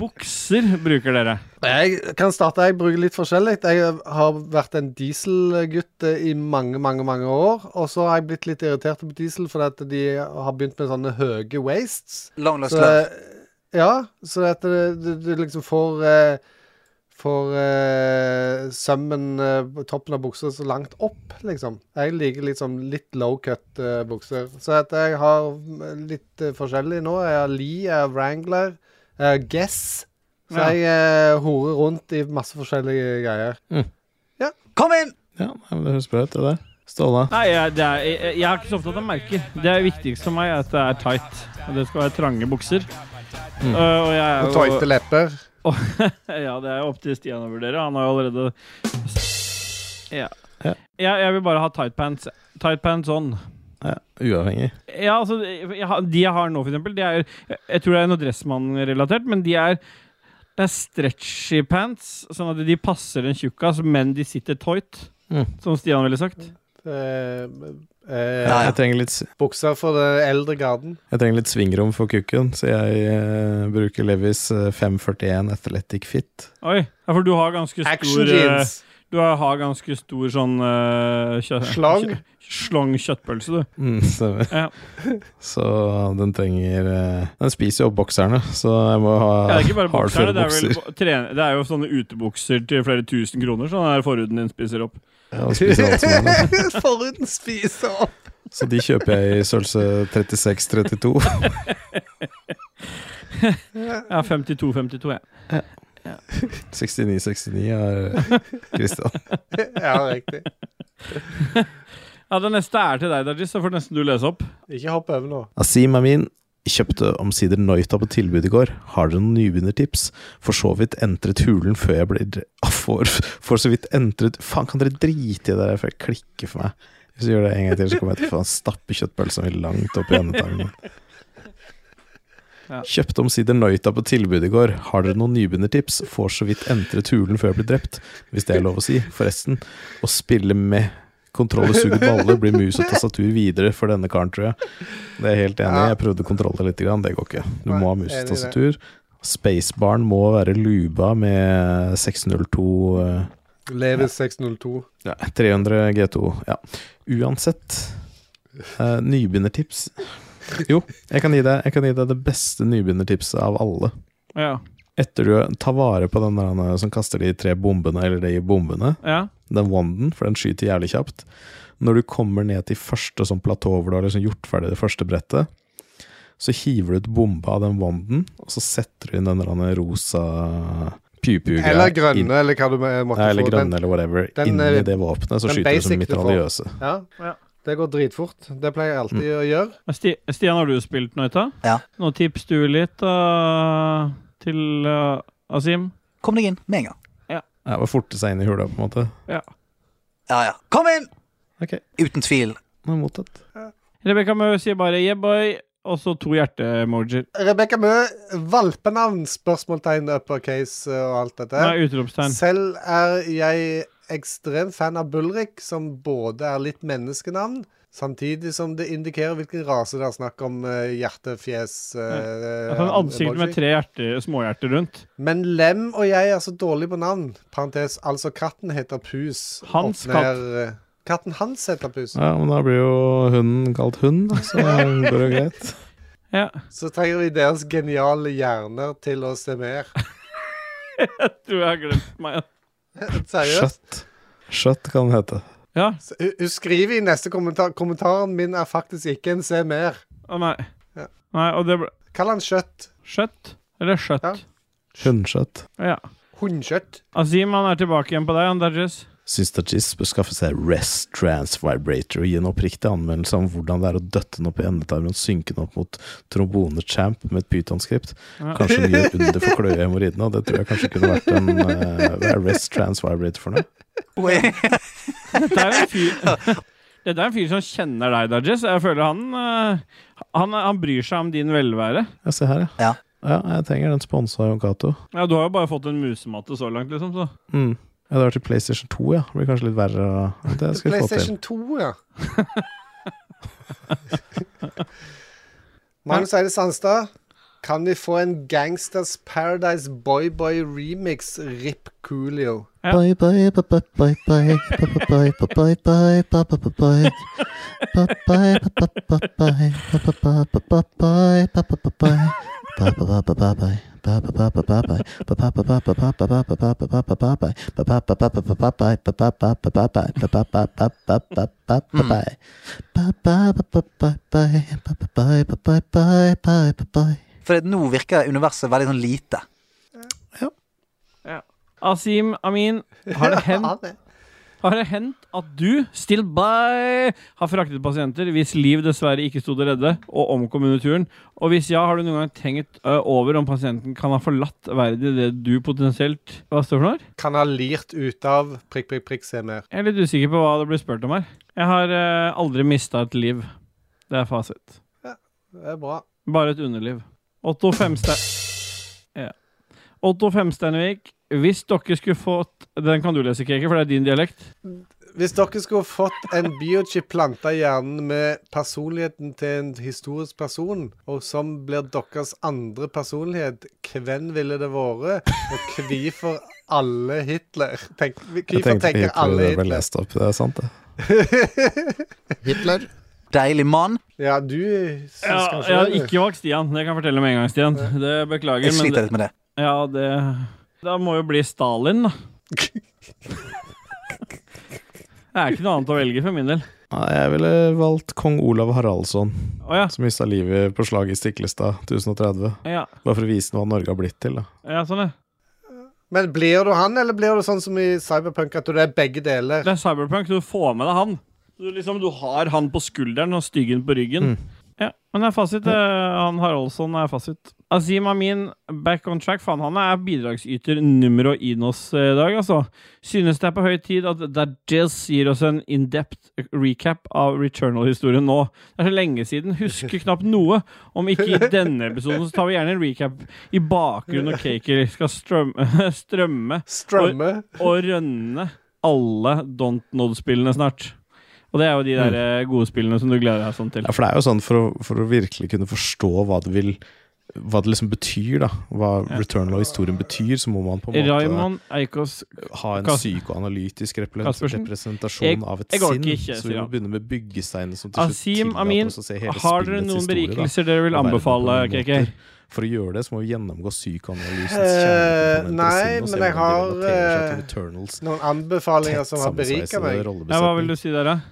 S1: bukser bruker dere?
S2: Jeg kan starte. Jeg bruker litt forskjellig. Jeg har vært en dieselgutt eh, i mange, mange mange år. Og så har jeg blitt litt irritert på diesel fordi at de har begynt med sånne høye wastes.
S4: Lang løs
S2: Så, eh,
S4: løp.
S2: ja, så at du, du, du liksom får eh, Får eh, sømmen eh, på toppen av buksa så langt opp, liksom. Jeg liker litt sånn litt low cut eh, bukser. Så at jeg har mm, litt eh, forskjellig nå. Jeg har Lee, jeg har Wrangler, jeg har Guess. Så
S1: Ja.
S2: jeg eh, horer rundt i masse forskjellige greier.
S4: Kom inn!
S3: Ja, nei, men det høres bra ut, det der. Ståle.
S1: Nei, jeg, det er, jeg, jeg- jeg er ikke så opptatt av merker. Det viktigste for meg er at det er tight. Og det skal være trange bukser. Uh, og jeg er
S2: Og
S1: jo-
S2: tøyte lepper.
S1: Ja, det er opp til Stian å vurdere. Han har jo allerede Ja.
S3: Ja.
S1: Jeg, jeg vil bare ha tight pants. Tight pants on.
S3: Ja, uavhengig.
S1: Ja, altså, jeg, har- de jeg har nå, for eksempel, de er Jeg, jeg tror det er noe Dressmann-relatert, men de er det er stretchy pants, sånn at de passer en tjukkas, men de sitter tight.
S3: Mm.
S1: Som Stian ville sagt.
S2: Eh, eh,
S4: Ja, ja.
S3: Jeg trenger litt,
S2: Bukser for den eldre garden.
S3: jeg trenger litt svingrom for kukken, så jeg eh, bruker Levis eh, 541 Athletic Fit.
S1: Oi, ja, for du har ganske stor
S2: Action
S1: eh,
S2: jeans.
S1: Du har, har ganske stor sånn uh, kjø
S2: Slang?
S1: kjø- Slang kjøttpølse, du.
S3: Mm, stemmer.
S1: Ja.
S3: Så den trenger eh, Den spiser jo opp bokserne, så jeg må ha
S1: Ja, det er ikke bare bokserne,
S3: hardføre
S1: det er,
S3: Ah, bukser.
S1: vel, bo- trene, det er jo sånne utebukser til flere tusen kroner, sånn der forhuden din spiser opp.
S3: Ja, og spiser alt som er nå.
S2: Foruten spise opp.
S3: Så de kjøper jeg i størrelse 36-32.
S1: Ja, 52-52, jeg.
S3: 69-69 er Kristian.
S2: Ja, riktig.
S1: Ja, det neste er til deg, Dajis, så får nesten du lese opp.
S2: Ikke hopp over nå.
S3: Asim Amin kjøpte omsider Noita på tilbud i går. Har dere noen nybegynnertips? For så vidt entret hulen før jeg blir Ah, For, for så vidt entret Faen, kan dere drite i det der, for det klikker for meg. Hvis du gjør det en gang til, så kommer jeg til å få en stappe kjøttpølse min langt opp i endetarmen.
S1: Ja.
S3: Kjøpte omsider Noita på tilbud i går. Har dere noen nybegynnertips? For så vidt entret hulen før jeg ble drept, hvis det er lov å si. Forresten, å spille med kontroller suger baller, blir mus og tastatur videre for denne karen, tror jeg. Det er jeg helt enig i. Jeg prøvde kontroller litt, grann. det går ikke. Du må ha mus
S2: Nei, enig i
S3: og
S2: det.
S3: tastatur. Spacebaren må være luba med 602 eh,
S2: Levis 602.
S3: ja, 300 G2. Ja. Uansett, eh, nybegynnertips Jo, jeg kan, gi deg, jeg kan gi deg det beste nybegynnertipset av alle.
S1: Ja.
S3: Etter du tar vare på den der han, som kaster de tre bombene, eller de bombene,
S1: ja.
S3: den wanden, for den skyter jævlig kjapt Når du kommer ned til første sånn platå hvor du har liksom gjort ferdig det første brettet, så hiver du ut bomba av den wanden, og så setter du inn den der han, rosa pupu-greia
S2: Eller
S3: inn-
S2: grønne, eller hva du må- måtte
S3: Nei, eller
S2: få.
S3: grønne,
S2: Den,
S3: eller whatever.
S2: den, eh,
S3: Inni det våpenet så
S2: den
S3: skyter du
S2: basic du
S3: som
S2: får.
S3: mitraljøse.
S2: ja,
S1: Ja.
S2: det går dritfort. Det pleier jeg alltid
S3: Mm.
S2: å gjøre.
S1: Men Sti Stian, har du spilt Noita?
S4: Ja.
S1: Nå tips du litt eh, til eh, Asim.
S4: Kom deg inn med en gang.
S3: Ja, bare forte seg inn i hula, på en måte.
S1: Ja.
S4: Ja, ja. Kom inn!
S3: Ok,
S4: Uten tvil.
S3: nå er jeg mottatt.
S1: Rebekka Mø sier bare 'yeah, boy', og så to hjerte-emojier.
S2: Rebekka Mø, valpenavn, spørsmålstegn, uppercase eh, og alt dette.
S1: Nei, utropstegn.
S2: Selv er jeg ekstrem fan av Bulrik, som både er litt menneskenavn, samtidig som det indikerer hvilken rase det er snakk om. eh, Hjerte, fjes eh,
S1: Sånn ansikt med
S2: emoji.
S1: tre hjerte, småhjerter rundt.
S2: Men Lem og jeg er så dårlig på navn. Parentes, altså katten heter Pus.
S1: Hans
S2: Opp ned, eh, Katten hans heter Pus.
S3: Ja, men da blir jo hunden kalt hund, da, så det går jo greit.
S1: Ja.
S2: Så trenger vi deres geniale hjerner til å se mer.
S1: Tror jeg har glemt meg.
S2: Seriøst.
S3: Skjøtt. Skjøtt kan det hete.
S1: Ja.
S2: Så Hun hun skriver i neste kommentar kommentaren min er faktisk ikke en se mer.
S1: Å, nei.
S2: Ja.
S1: Nei, og det ble
S2: Kall han kjøtt.
S1: Skjøtt? Eller skjøtt?
S2: Ja.
S3: Hundskjøtt.
S1: Ja.
S2: Hundkjøtt.
S1: Azim, han er tilbake igjen på deg, han Dajis.
S3: Syns Dajis bør skaffe seg Rest Trans Vibrator og gi en oppriktig anmeldelse om hvordan det er å døtte den opp i endetarmen og synke den opp mot trombone-champ med et pytonskript.
S1: Ja.
S3: Kanskje mye under for kløe i hemoroidene, og det tror jeg kanskje kunne vært en eh, Hva er Rest Trans Vibrator for noe?
S1: Dette er jo en fyr Dette er en fyr som kjenner deg, Dajis. Jeg føler han, eh, han Han bryr seg om din velvære.
S3: Ja, se her, ja.
S4: Ja.
S3: Ja, jeg trenger den sponsa av Jon Cato.
S1: Ja, Du har jo bare fått en musematte så langt, liksom. Så.
S3: Mm. Ja, det var til PlayStation 2, ja. Det blir kanskje litt verre. å- Det skal vi få
S2: PlayStation
S3: til.
S2: 2, ja. Magnus Eide Sandstad. Kan vi få en Gangsters Paradise Boy-Boy remix? Rip Coolio.
S1: Ja.
S5: Bye bye bye bye bye bye bye bye bye bye bye bye bye bye bye bye bye bye bye bye bye
S4: For nå virker universet veldig sånn lite.
S1: Asim Amin, har det hendt Har det hendt at du, still by, har fraktet pasienter hvis liv dessverre ikke sto til redde, og omkom under turen? Og hvis ja, har du noen gang tenkt ø, over om pasienten kan ha forlatt verden i det du potensielt Hva står det for noe?
S2: Kan ha lirt ut av prikk, prikk, prikk, se mer.
S1: Jeg er litt usikker på hva det blir spurt om her. Jeg har ø, aldri mista et liv. Det er fasit.
S2: Det er bra.
S1: Bare et underliv. Otto Femstein ja. Otto Femsteinvik, hvis dere skulle fått Den kan du lese, Keke, for det er din dialekt.
S2: Hvis dere skulle fått en biochip planta i hjernen med personligheten til en historisk person, og som blir deres andre personlighet, hvem ville det vært? Og hvorfor alle Hitler? Tenk,
S3: Jeg
S2: hvorfor
S3: tenkte på
S2: tenker
S3: Hitler
S2: alle
S3: da det ble
S2: Hitler?
S3: lest opp. Det er sant, det.
S5: Hitler.
S4: Deilig mann.
S2: Ja, du syns
S1: Ja, jeg
S2: kanskje
S1: har
S2: det.
S1: ikke valgt Stian. Det kan jeg fortelle med en gang, Stian. Det beklager,
S4: Jeg
S1: men
S4: sliter
S1: det,
S4: litt med det.
S1: ja, det Da må jo bli Stalin, da. Det er ikke noe annet å velge for min del.
S3: Nei, jeg ville valgt kong Olav Haraldsson,
S1: Å ja.
S3: som mista livet på slaget i Stiklestad 1030.
S1: Ja,
S3: Bare for å vise hva Norge har blitt til, da.
S1: ja sånn, ja.
S2: Men blir du han, eller blir du sånn som i Cyberpunk, at du er begge deler?
S1: Det er Cyberpunk. Du får med deg han. Du, liksom, du har han på skulderen og styggen på ryggen. Ja, men det er fasit. eh, Han Haraldsson er fasit. Azim Amin, back on track. Faen, han er bidragsyter numero inos eh, i dag, altså. Synes det er på høy tid at Dajez gir oss en in-depth recap av Returnal-historien nå. Det er så lenge siden. Husker knapt noe. Om ikke i denne episoden, så tar vi gjerne en recap i bakgrunnen når Kaker skal strømme, strømme
S2: Strømme?
S1: og rønne alle Don't Nod-spillene snart. Og det er jo de der eh, gode spillene som du gleder deg sånn til.
S3: Mm. Ja, for det er jo sånn for å, for å virkelig kunne forstå hva det vil Hva det liksom betyr, da. Hva Returnal og historien betyr, så må man på en måte
S1: Raymond Eikås
S3: ha en
S1: Kas-
S3: psykoanalytisk repre-
S1: Kaspersen?
S3: representasjon
S1: Jeg-
S3: av et
S1: jeg orker
S3: sinn.
S1: ikke,
S3: så vi
S1: sier
S3: må
S1: han.
S3: begynne med byggesteinene som til
S1: Asim
S3: slutt
S1: Amin,
S3: tillater oss å se hele
S1: har dere
S3: spillets
S1: noen
S3: historie, da.
S1: berikelser dere vil
S3: Og verden på
S1: anbefale,
S3: mange
S1: KK?
S3: måter. For å gjøre det, så må vi gjennomgå psykoanalysens
S2: Eh,
S3: kjernekomponenter
S2: nei,
S3: i sinnet og se
S2: men jeg
S3: hvordan de relaterer seg
S2: har,
S3: til Returnals
S2: Noen anbefalinger
S3: tett
S2: som har berika
S3: sammensveisede
S2: meg?
S1: Ja, hva vil
S3: rollebesetning.
S1: du si der, da?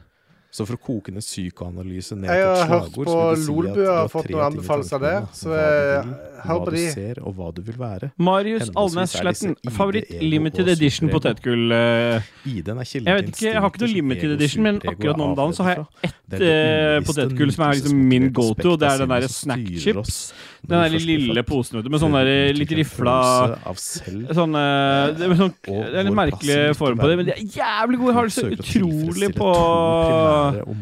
S3: Så for å koke ned psykoanalyse ned
S2: Jeg
S3: til et
S2: har hørt
S3: slagord
S2: på
S3: så vil det si at
S2: Lolbua
S3: du
S2: har
S3: tre
S2: fått noen
S3: ting i
S2: anbefalelser
S3: tankene,
S2: der,
S3: da.
S2: så,
S3: Hva du
S2: eh,
S3: vil,
S2: hør på
S3: Hva
S2: de.
S3: du ser, og hva du vil være.
S1: Marius
S3: Henholdsvis
S1: Alnes
S3: er disse
S1: Sletten,
S3: ID,
S1: favoritt
S3: ego
S1: limited
S3: og
S1: edition
S3: superego.
S1: potetgull. eh,
S3: ID-en er kilden
S1: Jeg vet
S3: til
S1: ikke, jeg har ikke noe
S3: instinkter som
S1: limited
S3: ego og
S1: edition, men
S3: superego er
S1: akkurat nå om dagen så har jeg
S3: avledet fra. Det
S1: ett,
S3: er det
S1: eh,
S3: ubevisste
S1: potetgull som er liksom min
S3: nytelsesmotiverte
S1: go-to, og det er den
S3: aspektet av
S1: derre
S3: sinnet som
S1: snack
S3: styrer oss
S1: chips. Den
S3: når vi
S1: der
S3: først blir
S1: lille
S3: født.
S1: posen vet du, med sånn der
S3: Prøver å
S1: litt
S3: utvikle en
S1: rifla
S3: følelse av selv
S1: Sånn, eh, det, er sånn
S3: og
S1: det er en
S3: vår
S1: merkelig
S3: plass i
S1: form på det, men de
S3: verden.
S1: er jævlig gode. Jeg har det så
S3: Søker å
S1: utrolig
S3: tilfredsstille
S1: på
S3: to primære og
S1: Jeg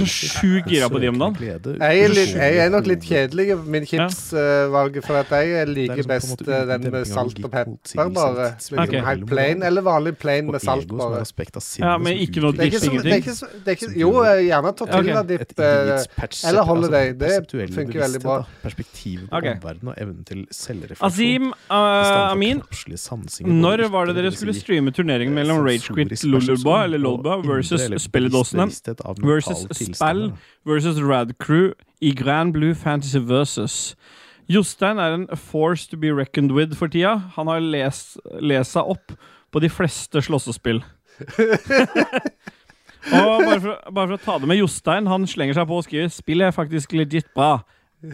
S1: er så sjukt gira på de om dagen.
S3: Glede,
S2: Jeg er, litt,
S3: uforståelig
S2: jeg er nok litt
S3: hoved-
S2: kjedelig med min chipsvalget, for at jeg
S3: Det er
S2: liker
S3: liksom på en
S2: best
S3: måte
S2: eh, den
S3: demping av
S2: med salt og
S3: logikk mot
S2: pepper,
S3: sivilsamfunn,
S2: bare.
S3: tidsspillet
S1: Ok.
S2: Liksom helt
S3: mellom
S2: plain,
S3: hverandre.
S2: eller vanlig plain
S3: og
S2: med salt,
S3: ego som er
S2: bare.
S3: aspekt av sinnet
S1: Ja, men
S3: som
S1: ikke noe
S2: Det er ikke
S3: utvikler
S2: så, det er ikke så, det er ikke, jo, eh, gjerne tortilladipp.
S3: et individs
S2: eh,
S3: persept-
S2: eller holiday, det
S3: perseptuelle
S2: funker
S3: bevissthet,
S2: veldig bra.
S3: da. Perspektivet på
S1: Ok.
S3: omverdenen og evnen til selvrefleksjon.
S1: Azim eh,
S3: i stedet for
S1: Amin,
S3: kroppslige sansinger,
S1: når
S3: både
S1: var det
S3: ytre,
S1: dere
S3: vil
S1: skulle
S3: si,
S1: streame turneringen mellom
S3: sensorisk
S1: Ragequit,
S3: percepsjon
S1: Lululba eller
S3: og
S1: Lolba
S3: indre
S1: versus
S3: eller
S1: spilledåsene
S3: bevissthet av
S1: versus
S3: mentale
S1: spill
S3: tilstander, da.
S1: versus Rad Crew i Grand Blue Fantasy Versus. Jostein er en force to be reckoned with for tida. Han har lest, lest seg opp på de fleste slåssespill. og bare for, bare for å ta det med Jostein, han slenger seg på og skriver Spillet er faktisk legit bra,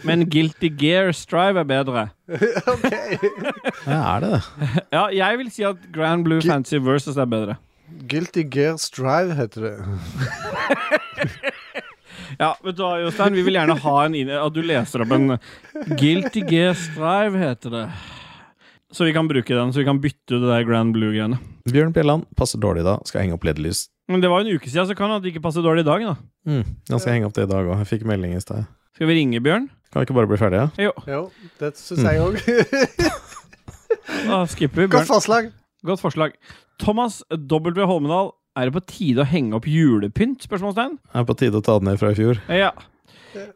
S1: men Guilty Gear Strive er bedre.
S3: Ja, er det det?
S1: Ja, jeg vil si at Grand Blue
S2: Gu-
S1: Fantasy Versus er bedre.
S2: Guilty Gear Strive heter det.
S1: Ja, vet du hva, Jostein, vi vil gjerne ha en inn... At du leser opp en Guilty Gear Strive, heter det. Så vi kan bruke den, så vi kan bytte ut det der Grand Blue-greiene.
S3: Bjørn Bjelland passer dårlig da. Skal henge opp ledelys.
S1: Men det var jo en uke siden, så kan det at det ikke passer dårlig i dag, da.
S3: Mm. Jeg skal henge opp det i dag òg. Jeg fikk melding i sted.
S1: Skal vi ringe Bjørn?
S3: Kan vi ikke bare bli ferdige?
S1: Jo,
S2: Jo, det syns jeg
S3: Mm.
S2: òg.
S1: da skipper vi
S2: Godt
S1: Bjørn.
S2: forslag.
S1: Godt forslag. Thomas W. Holmedal, Er det på tide å henge opp julepynt? spørsmålstegn?
S3: Det er på tide å ta den ned fra i fjor.
S1: Ja.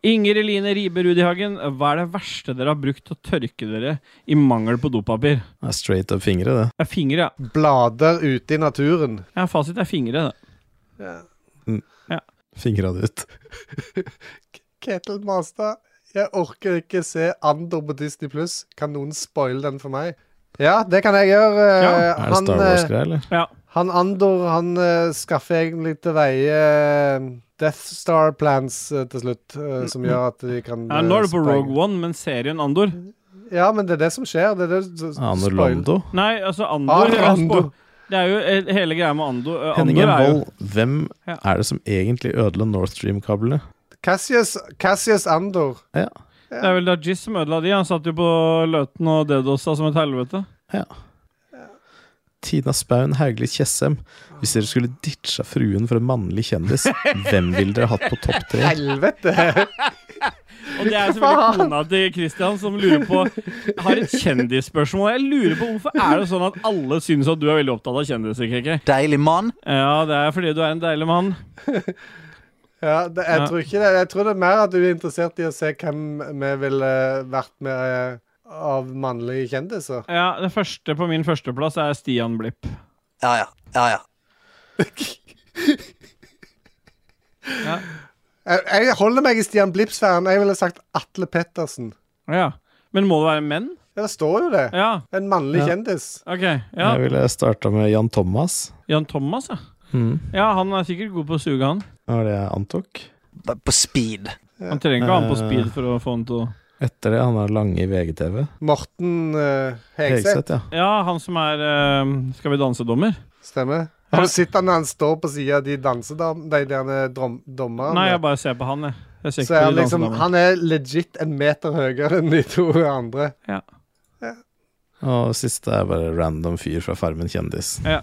S1: Inger Eline Riibe Rudihagen, hva er det verste dere har brukt til å tørke dere i mangel på dopapir?
S3: Det er straight up fingre, det.
S1: Det er fingre, ja.
S2: Blader ute i naturen.
S1: ja fasit er fingre, det.
S3: Fingra det ut.
S2: Ketil Mastad, jeg orker ikke se Andor på Disney Pluss. Kan noen spoile den for meg? Ja, det kan jeg gjøre.
S1: Ja.
S2: Eh,
S3: Er det
S2: han,
S3: Star
S2: eh,
S3: Wars-greier, eller?
S1: Ja.
S2: han Andor han eh, skaffer egentlig til veie eh, Death Star plans eh, til slutt, eh, som gjør at de kan
S1: Mm, ja nå er du på
S2: spreng-
S1: Rogue One, men serien Andor
S2: Ja, men det er det som skjer. Det er det s- s-
S3: Aner
S2: spoil-
S3: Londo?
S1: Nei, altså
S2: Ah,
S1: Andor, er
S2: Andor.
S1: spo- Det er jo eh, hele greia med Andor. eh,
S3: Henning
S1: Andor er jo
S3: Envold, hvem
S1: Ja.
S3: er det som egentlig ødela North Stream-kablene?
S2: Cassius, Cassius Andor.
S1: Det er vel da Jizz som ødela de. Han satt jo på Løten og dedosa som et helvete.
S3: Tina Spaun, Hauglie Tjessem. Hvis dere skulle ditcha fruen for en mannlig kjendis, hvem ville dere hatt på topp tre?
S2: Helvete!
S1: Og det er selvfølgelig kona til Christian som lurer på har et kjendisspørsmål. Jeg lurer på Hvorfor er det sånn at alle synes at du er veldig opptatt av kjendiser? KK?
S4: Deilig mann.
S1: Ja, det er fordi du er en deilig mann.
S2: Ja, det, jeg
S1: Ja.
S2: tror ikke det. Jeg tror det er mer at du er interessert i å se hvem vi ville vært med eh, av mannlige kjendiser.
S1: Ja, Det første på min førsteplass er Stian Blipp.
S4: Ja, ja. ja, ja.
S2: Jeg, jeg holder meg i Stian Blipp-sfæren. Jeg ville sagt Atle Pettersen.
S1: Ja. Men må det være menn?
S2: Ja, det står jo det.
S1: Ja,
S2: En mannlig
S3: Ja.
S2: kjendis.
S1: OK. Ja.
S3: Jeg ville starta med Jan Thomas.
S1: Jan Thomas, ja.
S3: Mm.
S1: Ja, Han er sikkert god på å suge, han.
S3: Det var det jeg antok.
S4: På- På speed.
S1: Han trenger ikke ha han på speed for å få han til å
S3: Etter det, han er lange i VGTV.
S2: Morten eh, Hegseth.
S3: Hegseth, ja.
S1: Ja, han som er eh, Skal vi danse-dommer?
S2: Stemmer. Har du sett han når han står på sida av de dansedam... De der eh, drom- dommerne?
S1: Nei, jeg bare ser på han, jeg. jeg ser
S2: Så
S1: ikke
S2: er
S1: på
S2: han,
S1: de
S2: liksom,
S1: dansedommerne.
S2: han er legit en meter høyere enn de to andre.
S3: Og siste er bare random fyr fra Farmen kjendis.
S1: Ja.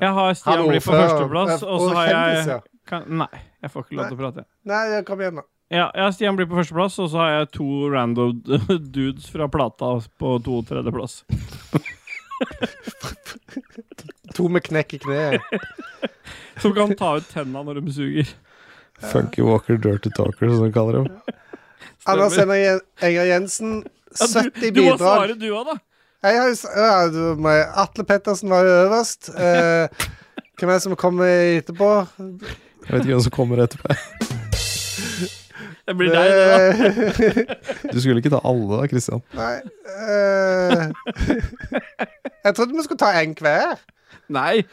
S1: Jeg har
S2: Han
S1: Stian Blipp på
S2: ordfører-
S1: førsteplass, og så har
S2: kjendis,
S1: jeg
S2: ja.
S1: kan, Nei, jeg får ikke lov til å prate.
S2: Nei, ja, kom igjen, da.
S1: Ja, jeg har Stian Blipp på førsteplass, og så har jeg to random dudes fra plata på to tredjeplass.
S2: To med knekk i kneet.
S1: Som kan ta ut tenna når de suger.
S3: Funky Walker Dirty Talker, som de kaller dem.
S2: Anders Henrik Jen- Enger Jensen,
S1: Ja,
S2: 70
S1: du, du må
S2: bidrag.
S1: svare du òg, da.
S2: Jeg har jo s- ja, du, meg- Atle Pettersen var jo øverst. Eh, hvem er det som kommer etterpå?
S3: Jeg vet ikke hvem som kommer etterpå.
S1: Det blir deg, det,
S2: Eh.
S1: da.
S3: Du skulle ikke ta alle, da, Christian.
S2: Nei eh, Jeg trodde vi skulle ta en hver.
S1: Nei.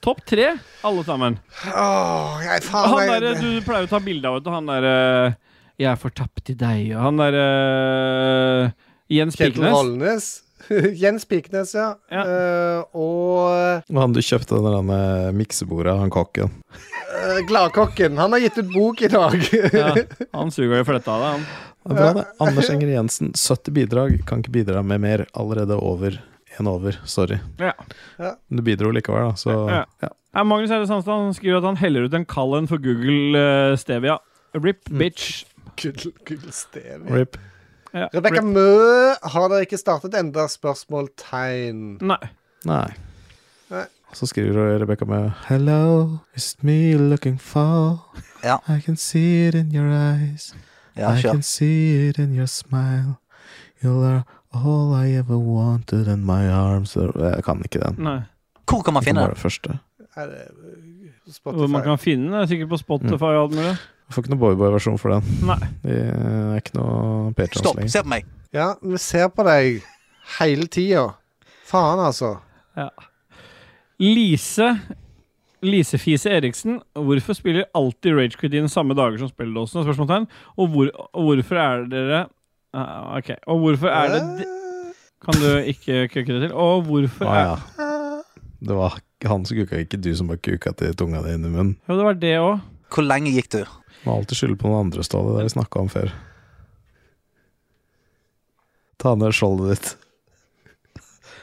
S1: Topp tre, alle sammen.
S2: Åh, jeg, faen,
S1: Han
S2: jeg,
S1: derre du pleier å ta bilde av, vet du. Han derre Jeg er fortapt i deg, og han derre Jens
S2: Ketil
S1: Piknes.
S2: Rollnes. Jens Piknes, ja.
S1: Ja.
S2: Eh, og
S3: Og han du kjøpte den der eh, miksebordet av han kokken.
S2: eh, Gladkokken. Han har gitt ut bok i dag.
S1: Ja, han suger jo fletta av deg, han.
S3: Det er bra, det. Anders Enger Jensen, 70 bidrag. Kan ikke bidra med mer. Allerede over. Én over. Sorry.
S1: Ja.
S3: Men du bidro likevel, da, så
S1: Ja.
S3: ja.
S1: Ja, Magnus Eide Sandstad han skriver at han heller ut en kald en for Google eh, Stevia. Rip, bitch.
S2: Gull, gull, Stevie.
S3: RIP.
S1: Ja,
S2: Rebekka
S1: rip.
S2: Mø, har dere ikke startet enda spørsmåltegn?
S1: Nei.
S3: Nei.
S2: Nei.
S3: Så skriver Rebekka med Hello, it's me looking for
S4: Ja.
S3: I can see it in your eyes
S4: Ja,
S3: I
S4: kjør.
S3: can see it in your smile You are all I ever wanted in my arms Jeg kan ikke den
S1: Nei.
S4: Hvor kan man
S3: Det
S4: finne
S3: var
S4: den?
S3: det første
S2: Er det eh,
S1: Hvor man
S2: Spotify?
S1: kan finne den? er Sikkert på Spotify og alt mulig.
S3: Jeg får ikke noe boyboy-versjon for den
S1: Nei.
S3: Det er ikke noe Patreons
S4: Stopp.
S3: lenger
S4: Se på meg.
S2: Ja, vi ser på deg hele tida. Faen, altså.
S1: Lise Lisefise Eriksen, hvorfor spiller alltid Ragequit inn samme dager som spilledåsen? Spørsmålstegn. Og, hvor, og hvorfor er dere Ah, OK. Og hvorfor er det de- Kan du ikke kukke det til? Og hvorfor
S3: ah,
S1: er
S3: ja. Det var han som kuka, ikke du som har kuka til tunga di inn i munnen
S1: Jo, det var det òg.
S4: Hvor lenge gikk du?
S3: Må alltid skylde på noen andre, Ståle. Det har vi snakka om før. Ta ned skjoldet ditt.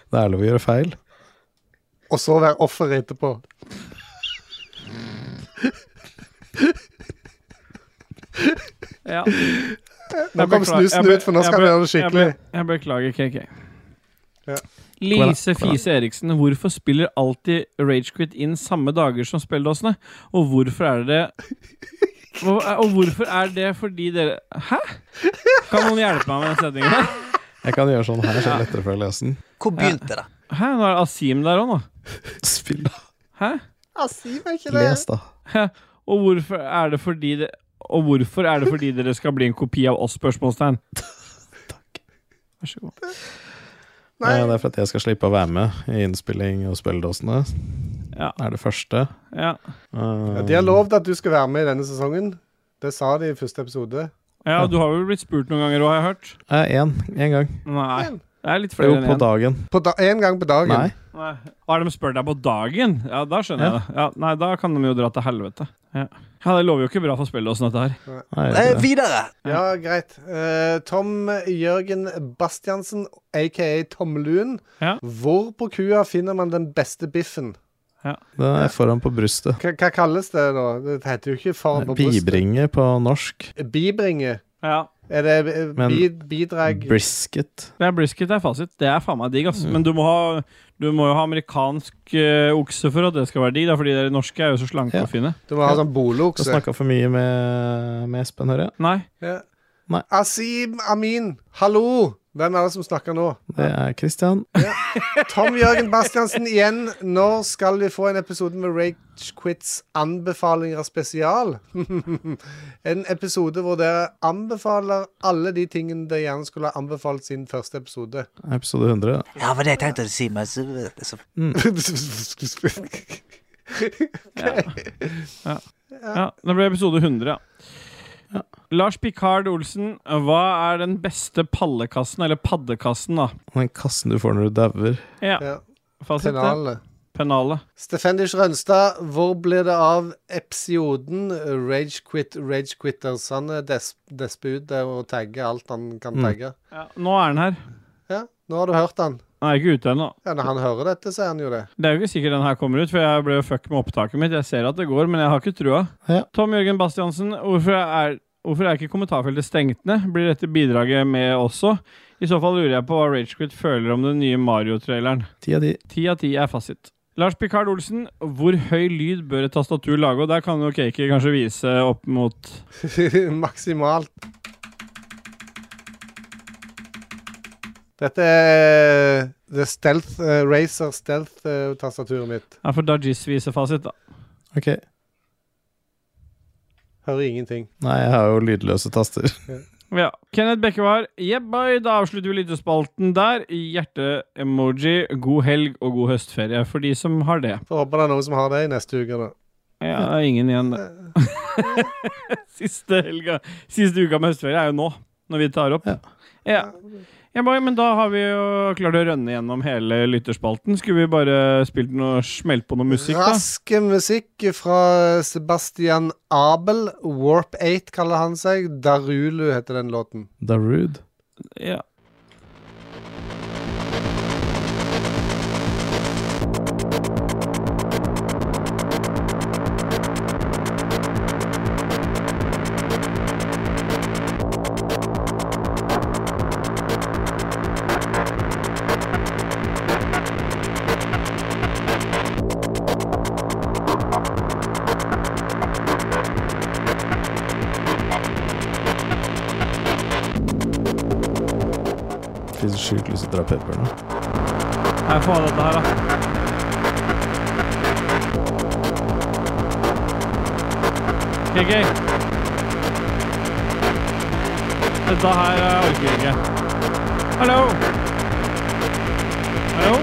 S3: Det er lov å gjøre feil.
S2: Og så være offer etterpå.
S1: Ja.
S2: Nå kom
S1: beklager-
S2: snusen
S1: jeg be-
S2: ut, for nå
S1: jeg
S2: skal
S1: be-
S2: vi gjøre det skikkelig.
S1: Jeg, be, jeg beklager, KK.
S2: Ja.
S1: Lise Fise Eriksen, hvorfor spiller alltid Ragequit inn samme dager som spilledåsene? Og hvorfor er det og, og hvorfor er det fordi dere Hæ? Kan noen hjelpe meg med den setningen her?
S3: Jeg kan gjøre sånn her, så er det lettere for å lese den.
S4: Hvor begynte det?
S1: Hæ, nå er det Asim der òg, nå.
S3: Spill, da.
S1: Hæ?
S3: Les, da.
S1: Hæ? Og hvorfor er det fordi det Og hvorfor er det fordi dere skal bli en kopi av oss? spørsmålstegn Vær så god.
S2: Nei.
S3: Eh, Det er for at jeg skal slippe å være med i innspilling og spilledåsene.
S1: Ja.
S3: Det er det første.
S1: Ja.
S3: Eh,
S2: Ja, de har lovt at du skal være med i denne sesongen. Det sa de i første episode.
S1: ja, du har vel blitt spurt noen ganger òg, har jeg hørt?
S3: eh, en, en gang.
S1: Nei. Det er litt
S3: Jo,
S1: flere enn
S3: på
S1: én.
S3: dagen.
S2: På da, en gang på dagen.
S3: Nei.
S1: Nei. Har de spurt deg på dagen? Ja, da skjønner jeg det. Ja, nei, da kan de jo dra til helvete. Ja, ja Det lover jo ikke bra for spillet åssen dette her.
S3: Nei, jeg
S4: Eh,
S3: gjør ikke det.
S4: videre.
S2: Ja, greit. Eh, Tom Jørgen Bastiansen, aka Tom Luen.
S1: Ja.
S2: Hvor på kua finner man den beste biffen?
S3: Den er foran på brystet.
S2: Hva, hva kalles det da? Det heter jo ikke far på brystet.
S3: Bibringe på norsk.
S2: Bibringe.
S1: Ja.
S2: Er det eh,
S3: Men-
S2: bi, bidrag
S3: Brisket.
S1: Det er brisket, det er fasit. Det er faen meg digg, ass. Men du må, ha, du må jo ha amerikansk eh, okse for at det skal være digg, da, fordi dere norske er jo så slanke
S3: Ja.
S1: og fine.
S2: Du må ha sånn
S3: Du
S2: bolokse.
S3: snakka for mye med, med Espen, hører jeg.
S1: Nei.
S2: Ja.
S3: Nei.
S2: Asim Amin, hallo! Hvem er det som snakker nå?
S3: Det er Christian.
S2: Tom Jørgen Bastiansen igjen. Når skal vi få en episode med Rage Quits anbefalinger spesial? en episode hvor dere anbefaler alle de tingene dere gjerne skulle ha anbefalt siden første episode.
S3: Episode 100.
S4: Ja, men det jeg tenkte å si, men så, så
S1: Ja, Det ble episode 100, ja. Lars Picard Olsen, hva er den beste pallekassen, eller paddekassen, da?
S3: Den kassen du får når du dauer.
S1: Ja,
S2: Ja,
S1: fasit. det.
S2: Penalene.
S1: Penale.
S2: Stefendish Rønstad, hvor ble det av episoden Rage Quit, Rage Quitters? Han er des desput der og tagger alt han kan tagge.
S1: Ja, nå er den her.
S2: Ja, nå har du hørt han.
S1: Den er ikke ute ennå.
S2: Ja, når han hører dette, så er han jo det.
S1: Det er jo ikke sikkert den her kommer ut, for jeg ble jo fuck med opptaket mitt. Jeg ser at det går, men jeg har ikke trua.
S3: Ja.
S1: Tom Jørgen Bastiansen, hvorfor er, hvorfor er ikke kommentarfeltet stengt ned? Blir dette bidraget med også? I så fall lurer jeg på hva Ragequit føler om den nye Mario-traileren.
S3: Ti av de.
S1: Ti av ti er fasit. Lars Picard Olsen, hvor høy lyd bør et tastatur lage? Og der kan jo Cakey kanskje vise opp mot
S2: Maksimalt. Dette er The Stealth eh, Razer Stealth-tastaturet mitt.
S1: Ja, for Dajis viser fasit, da.
S3: Ok.
S2: Hører ingenting.
S3: Nei, jeg har jo lydløse taster.
S1: Ja. Kenneth Bekkevar, jebbai, da avslutter vi lyttespalten der. Hjerte-emoji, god helg og god høstferie for de som har det.
S2: Får håpe det er noen som har det i neste uke. da.
S1: Ja, det er ingen igjen, det. Siste helga Siste uka med høstferie er jo nå, når vi tar opp.
S3: Ja.
S1: Ja. Ja, boy, men da har vi jo klart å rønne gjennom hele lytterspalten. Skulle vi bare spilt noe, smelt på noe musikk, da?
S2: Rask musikk fra Sebastian Abel. Warp 8 kaller han seg. Darulu heter den låten.
S3: Darude.
S1: Ja.
S3: Fikk så sjukt lyst til å dra pepper nå.
S1: Nei, få av dette her, da. KK. Dette her eh, orker jeg ikke. Hallo! Hallo?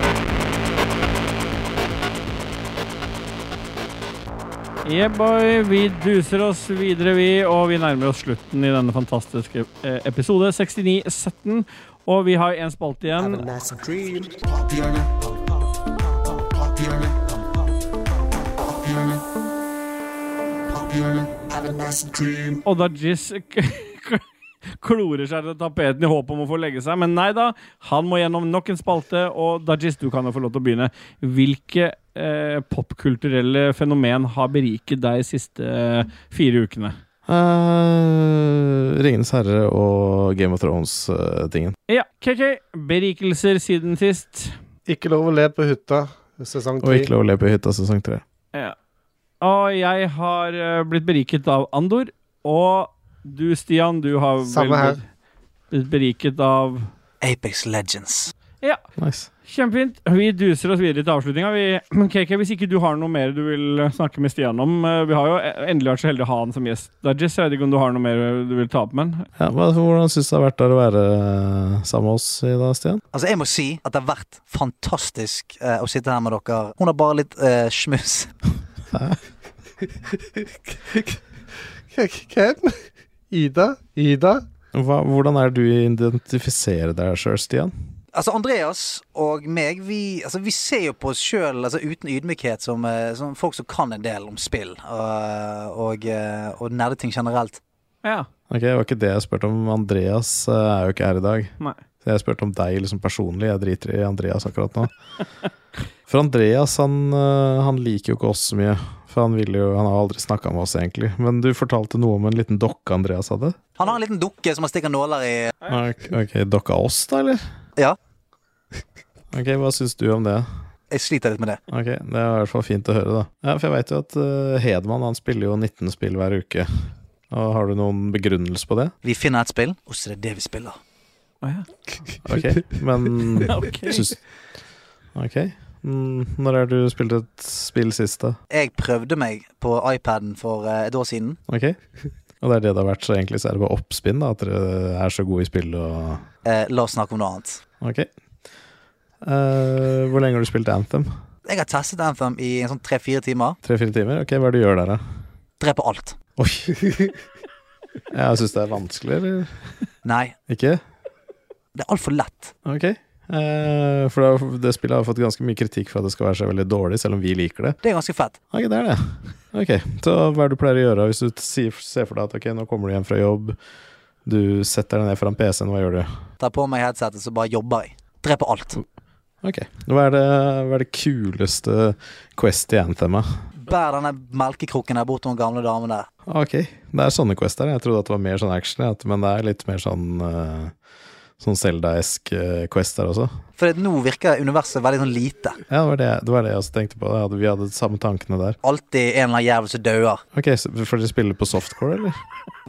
S1: Yeah, boy. Vi duser oss videre, vi, og vi nærmer oss slutten i denne fantastiske eh, episode 69-17. Og vi har én spalte igjen. Odda Jizz k- klorer seg til tapeten i håp om å få legge seg, men nei da. Han må gjennom nok en spalte, og Dajis, du kan jo få lov til å begynne. Hvilke eh, popkulturelle fenomen har beriket deg de siste eh, fire ukene?
S3: Eh, Ringenes herre eh, og Game of Thrones-tingen.
S1: Ja, KK, berikelser siden sist.
S2: Ikke lov å le på hytta, sesong
S3: Og ikke
S2: tre.
S3: lov å le på hytta sesong tre.
S1: Ja. Og jeg har eh, blitt beriket av Andor. Og du, Stian, du har
S2: Samme her.
S1: blitt- blitt beriket av
S4: Apex Legends.
S1: Ja,
S3: Nice.
S1: kjempefint. Vi duser oss videre til avslutninga. Vi- KK, hvis ikke du har noe mer du vil eh, snakke med Stian om eh, Vi har jo eh, endelig vært så heldige å ha han som gjest. Da, Jess, jeg vet ikke om du har noe mer du vil ta opp med han?
S3: Ja, hva, hvordan syns du det har vært der å være eh, sammen med oss i dag, Stian?
S4: Altså, jeg må si at det har vært fantastisk eh, å sitte her med dere. Hun har bare litt eh, smuss.
S2: K- Hva er den? Ida? Ida?
S3: Hva, hvordan er det du identifiserer deg sjøl, Stian?
S4: Altså, Andreas og meg, vi, altså, vi ser jo på oss sjøl altså, uten ydmykhet som, eh, som folk som kan en del om spill og, og, eh, og nerdeting generelt.
S1: Ja.
S3: Ok, Det var ikke det jeg spurte om. Andreas eh, er jo ikke her i dag.
S1: Nei.
S3: Så jeg spurte om deg liksom personlig. Jeg driter i Andreas akkurat nå. For Andreas han, eh, han liker jo ikke oss så mye. For han, ville jo, han har aldri snakka med oss, egentlig. Men du fortalte noe om en liten dokke Andreas hadde.
S4: Han har en liten dukke som han stikker nåler i.
S3: Ok, ok, Dokka oss, da, eller?
S4: Ja.
S3: Ok, Hva syns du om det?
S4: Jeg sliter litt med det.
S3: Ok, Det er i hvert fall fint å høre, da. Ja, For jeg veit jo at eh, Hedman han spiller jo 19 spill hver uke. Og Har du noen begrunnelse på det?
S4: Vi finner et spill, og så er det det vi
S1: Å
S4: spiller.
S1: ja.
S3: Ok, men
S1: Ok.
S3: syns Ok. Mm, Når er det du spilte et spill sist, da?
S4: Jeg prøvde meg på iPaden for eh, et år siden.
S3: Ok. Og det er det det har vært, så egentlig så er det bare oppspinn, da, at dere er så gode i spill og
S4: Eh, la oss snakke om noe annet.
S3: Ok. Eh, hvor lenge har du spilt Anthem?
S4: Jeg har testet Anthem i en sånn tre-fire timer.
S3: Tre-fire timer? Ok, hva er det du gjør der, da?
S4: Dreper alt.
S3: Oi! Jeg syns det er vanskelig, eller?
S4: Nei,
S3: Ikke?
S4: det er altfor lett.
S3: Ok. Eh, for det, har- det spillet har fått ganske mye kritikk for at det skal være så veldig dårlig, selv om vi liker det.
S4: Det er ganske fett.
S3: Ok, det er det. Ok, Så hva er det du pleier å gjøre hvis du sier- ser for deg at ok, nå kommer du hjem fra jobb, du setter deg ned foran PC-en, hva gjør du?
S4: Tar på meg headsetet, så bare jobber jeg. Dreper alt.
S3: Ok, Hva er det, hva er det kuleste Quest i Anthemet?
S4: Bær denne melkekrukken der bort til den gamle damen der.
S3: Ok, det er sånne quester. Jeg trodde at det var mer sånn action, jeg, at- men det er litt mer sånn uh, Sånn Zelda-esk eh, quest der også.
S4: For det- nå virker universet veldig sånn lite.
S3: Ja, det var det, jeg- det var det jeg også tenkte på. Jeg hadde, vi hadde de samme tankene der.
S4: Alltid en eller annen jævel som dauer.
S3: Ok, så Får dere spille på softcore, eller?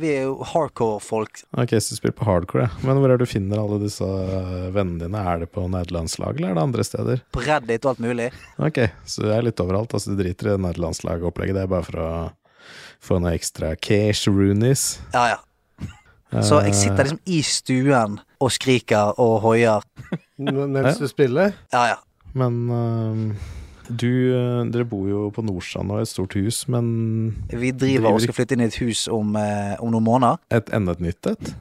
S4: Vi er jo hardcore folk.
S3: Ok, så du spiller på hardcore, ja. Men hvor er det du finner alle disse eh, vennene dine? Er det på nederlandslaget, eller er det andre steder?
S4: På Reddit og alt mulig.
S3: Ok, så jeg er litt overalt. Altså, du driter i det nederlandslagopplegget. Det er bare for å få noe ekstra cash Eh, roonies.
S4: Ja, ja. Så jeg sitter liksom i stuen og skriker og hoier.
S2: N- Mens du spiller?
S4: Ja, ja.
S3: Men øhm, du øh, Dere bor jo på Nordstrand og i et stort hus, men
S4: Vi driver og skal flytte inn i et hus om, eh, om noen måneder.
S3: et enda et nytt et?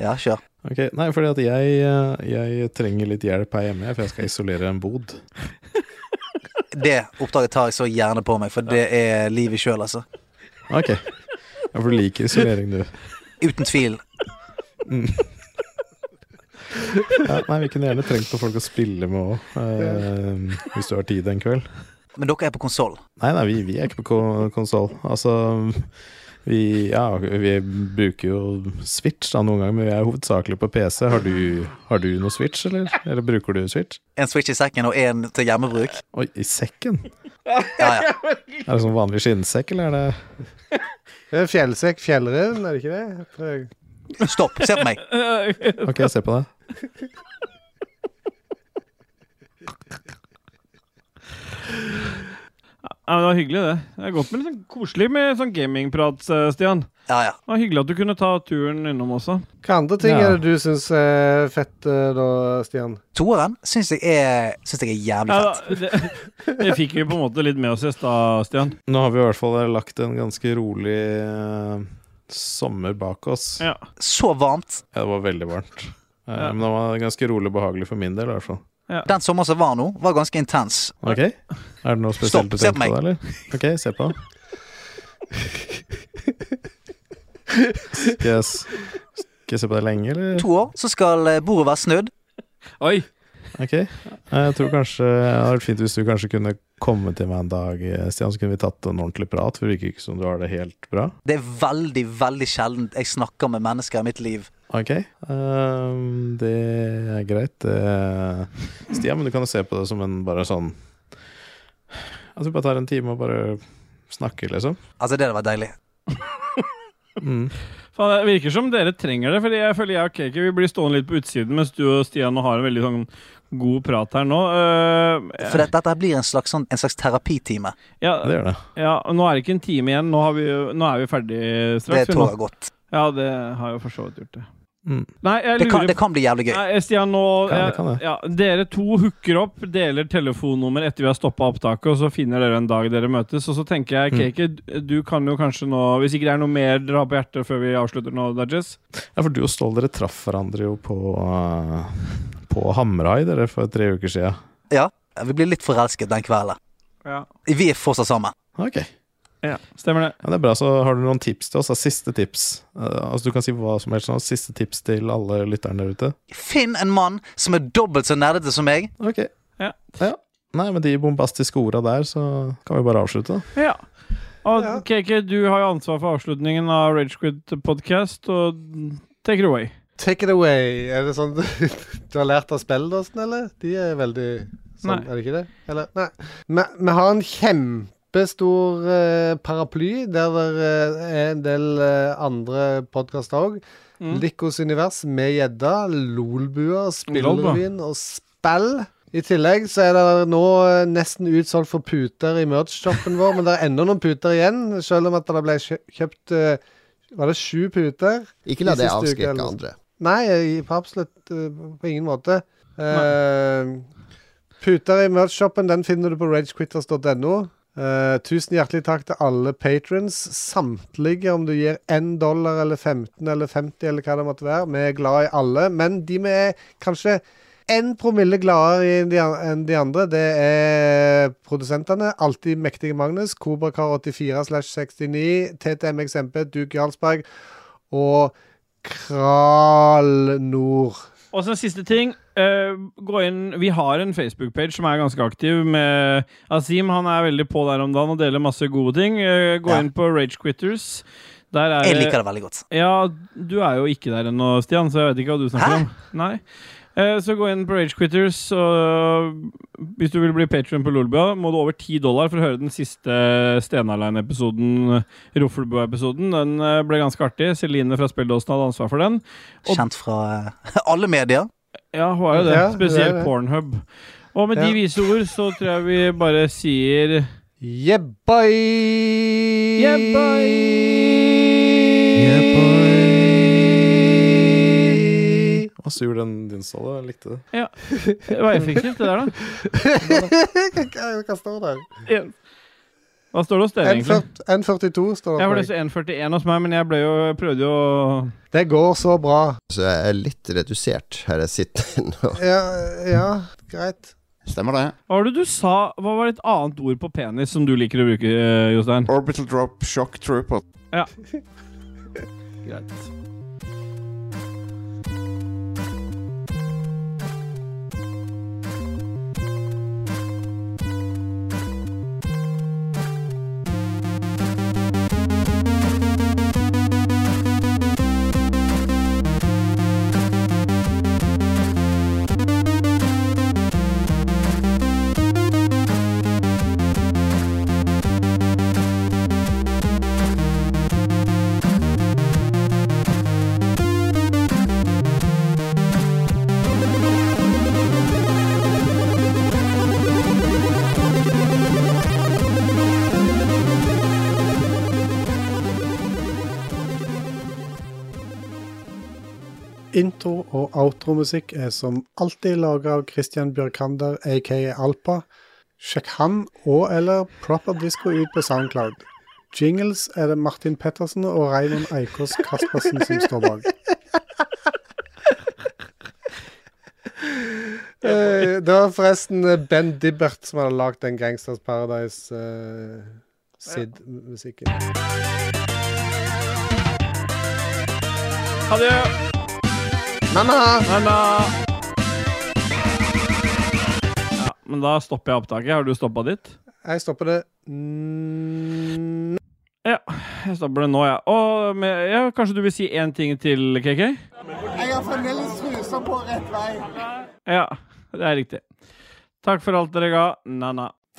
S4: Ja, kjør.
S3: Ok, Nei, fordi at jeg, øh, jeg trenger litt hjelp her hjemme, for jeg skal isolere en bod.
S4: Det oppdraget tar jeg så gjerne på meg, for det er livet sjøl, altså.
S3: Ok. Ja, for du liker isolering, du.
S4: Uten tvil.
S3: Ja, nei, vi kunne gjerne trengt noen folk å spille med òg, hvis du har tid en kveld.
S4: Men dere er på konsoll.
S3: Nei, nei, vi, vi er ikke på konsoll. Altså vi, ja, vi bruker jo Switch da noen ganger, men vi er hovedsakelig på PC. Har du, har du noe Switch, eller? Eller bruker du Switch?
S4: En Switch i sekken og en til hjemmebruk.
S3: Oi, i sekken?
S4: Ja, ja.
S3: Er det sånn vanlig skinnsekk, eller er det
S2: Det er Eh, Fjellsekk, fjellreven, er det ikke det? Tror jeg.
S4: Stopp, se på meg.
S3: Ok, jeg ser på deg.
S1: Ja, men det var hyggelig, det. Det er godt med litt sånn koselig med sånn gamingprat, eh, Stian.
S4: Ja, ja.
S1: Det var Hyggelig at du kunne ta turen innom også.
S2: Hva andre ting
S3: Ja.
S2: er det du syns er fett eh, da, Stian?
S4: Toeren syns jeg, er- syns jeg er jævlig
S1: Ja,
S4: fett.
S1: det, det fikk vi på en måte litt med oss i stad, Stian.
S3: Nå har vi i hvert fall lagt en ganske rolig eh, sommer bak oss.
S1: Ja.
S4: Så varmt.
S3: Ja, det var veldig varmt. Eh,
S1: Ja.
S3: Men det var ganske rolig og behagelig for min del, i hvert fall.
S4: Den sommeren som var nå, var ganske intens.
S3: Ok? Er det noe spesielt du
S4: Stopp, se på
S3: tenker på
S4: meg.
S3: deg, eller? Ok, se på. Skal jeg, s- skal jeg se på deg lenge,
S1: Mm.
S3: eller?
S4: To år, så skal eh, bordet være snødd.
S1: Oi!
S3: Ok. Jeg tror kanskje Det hadde vært fint hvis du kanskje kunne komme til meg en dag, eh, Stian, så kunne vi tatt en ordentlig prat, for det virker ikke som du har det helt bra.
S4: Det er veldig, veldig sjeldent jeg snakker med mennesker i mitt liv
S3: Ok, ehm, det er greit. det- Stian, men du kan jo se på det som en bare sånn At vi bare tar en time og bare snakker, liksom.
S4: Altså, det hadde vært deilig.
S3: Mm.
S1: Faen, det virker som dere trenger det, Fordi jeg føler jeg og Kiki vi blir stående litt på utsiden, mens du og Stian nå har en veldig sånn god prat her nå. Eh,
S4: For dette, dette her blir en slags, sånn, en slags terapitime.
S1: ja,
S3: Det gjør det.
S1: ja, nå er det ikke en time igjen. Nå, har vi, jo- nå er vi ferdig
S4: Det
S1: straks. vi
S4: tror
S1: nå.
S4: jeg godt.
S1: Ja, det har jo for så vidt gjort det.
S3: Mm.
S1: Nei, jeg
S4: Det
S1: lurer
S4: kan, det kan bli jævlig gøy.
S1: Nei, Stian, nå
S3: Kan det,
S1: jeg-
S3: kan det.
S1: Ja, Dere to hooker opp, deler telefonnummer etter vi har stoppa opptaket, og så finner dere en dag dere møtes. Og så tenker jeg, Kake, du kan jo kanskje nå Hvis ikke det er noe mer dere har på hjertet før vi avslutter nå, Dodges
S3: Ja, for du og Stål dere traff hverandre jo på eh, På Hamrai dere for tre uker sia.
S4: Ja, Vi blir litt forelsket den kvelden.
S1: Ja.
S4: Vi er fortsatt sammen.
S3: Ok, ja,
S1: Stemmer det.
S3: det er bra. Så har du noen tips til oss? Da. Siste tips. Eh, altså Du kan si hva som helst nå. Siste tips til alle lytterne der ute.
S4: Finn en mann som er dobbelt så nerdete som meg.
S3: Ok.
S1: Ja.
S3: Nei, med de bombastiske orda der, så kan vi bare avslutte, da.
S1: Ja. Og
S2: Ja.
S1: Kake, du har jo ansvar for avslutningen av Ragequid podcast, og take it away.
S2: Take it away. Er det sånn du, du har lært av spilledåsen, eller? De er veldig sånn,
S1: Nei.
S2: er det ikke det? Eller? Nei. Vi, vi har en kjempestor eh, paraply der det eh, er en del eh, andre podkaster òg.
S1: Mm.
S2: Likos univers med gjedda, Lolbua,
S1: Lolbua.
S2: Spillrevyen og spill. I tillegg så er det nå eh, nesten utsolgt for puter i merch-shoppen vår, men det er ennå noen puter igjen, selv om at det ble kjø- kjøpt eh, Var det sju puter?
S6: Ikke la
S2: I
S6: det
S2: siste uke,
S6: avskrekke
S2: eller noe
S6: andre.
S2: Nei, i- på absolutt eh, på ingen måte. Eh, puter i merch-shoppen den finner du på ragequitters.no. Eh, tusen hjertelig takk til alle patrons. Samtlige, om du gir 1 dollar eller 15 eller 50 eller hva det måtte være. Vi er glad i alle, men de vi er kanskje én promille gladere i de an- enn de andre, det er produsentene. Alltid mektige Magnus, Kobrakar84 slash 69, TTMXMP, Duke Jarlsberg og Kralnord.
S1: Og så en siste ting. eh, gå inn, Vi har en Facebook-page som er ganske aktiv. Med Azeem han er veldig på der om dagen og deler masse gode ting. Eh, gå
S4: Ja.
S1: inn på Ragequitters. Der er
S4: Jeg liker det veldig godt.
S1: Ja, du er jo ikke der ennå, Stian, så jeg vet ikke hva du snakker
S4: Hæ?
S1: om. Nei Eh, så gå inn på Ragequitters. Hvis du vil bli patron på Lolbua, må du over 10 dollar for å høre den siste Stenarlein-episoden. Roffelbua-episoden. Den eh, ble ganske artig. Celine fra Spelledåsen hadde ansvar for den. Og-
S4: Kjent fra eh, alle medier.
S1: Ja, hun er jo det.
S2: Ja, hun er
S1: Spesielt
S2: det.
S1: Pornhub. Og med
S2: Ja.
S1: de vise ord så tror jeg vi bare sier
S2: Jebbai!
S3: Å, sur den din, Ståle. Jeg likte det.
S1: Det var effektivt, det der, da.
S2: Hva hva står der?
S1: En- Hva står det hos dere, egentlig?
S2: 1,42 står
S1: Jeg
S2: det.
S1: var
S2: på
S1: det
S2: meg.
S1: så 1,41 hos meg, men jeg ble jo, jeg prøvde jo å
S2: Det går så bra.
S6: Så jeg er litt redusert her jeg sitter nå.
S2: Ja, ja greit.
S7: Stemmer det.
S1: Hva var det du sa? Hva var et annet ord på penis som du liker å bruke, eh, Jostein?
S7: Orbital Drop Shock Trooper.
S1: Greit.
S2: Intro- og outromusikk er som alltid laga av Christian Bjørkander, aka Alpa. Sjekk han og eller Proper Disco ut på Soundcloud. Jingles er det Martin Pettersen og Raymond Eikås Kaspersen som står bak. Eh, Det var forresten eh, Ben Dibbert som hadde lagd den Gangsters eh, Paradise-Sid-musikken.
S1: Ha det!
S2: Mamma!
S1: Ha det! Ja, men da stopper jeg opptaket. Har du stoppa ditt?
S2: Jeg stopper det. Mm.
S1: Ja, jeg stabler det nå, ja. Og med, ja, kanskje du vil si én ting til, KK?
S8: Jeg har fremdeles truser på rett vei.
S1: Ja, det er riktig. Takk for alt dere ga. Na-na.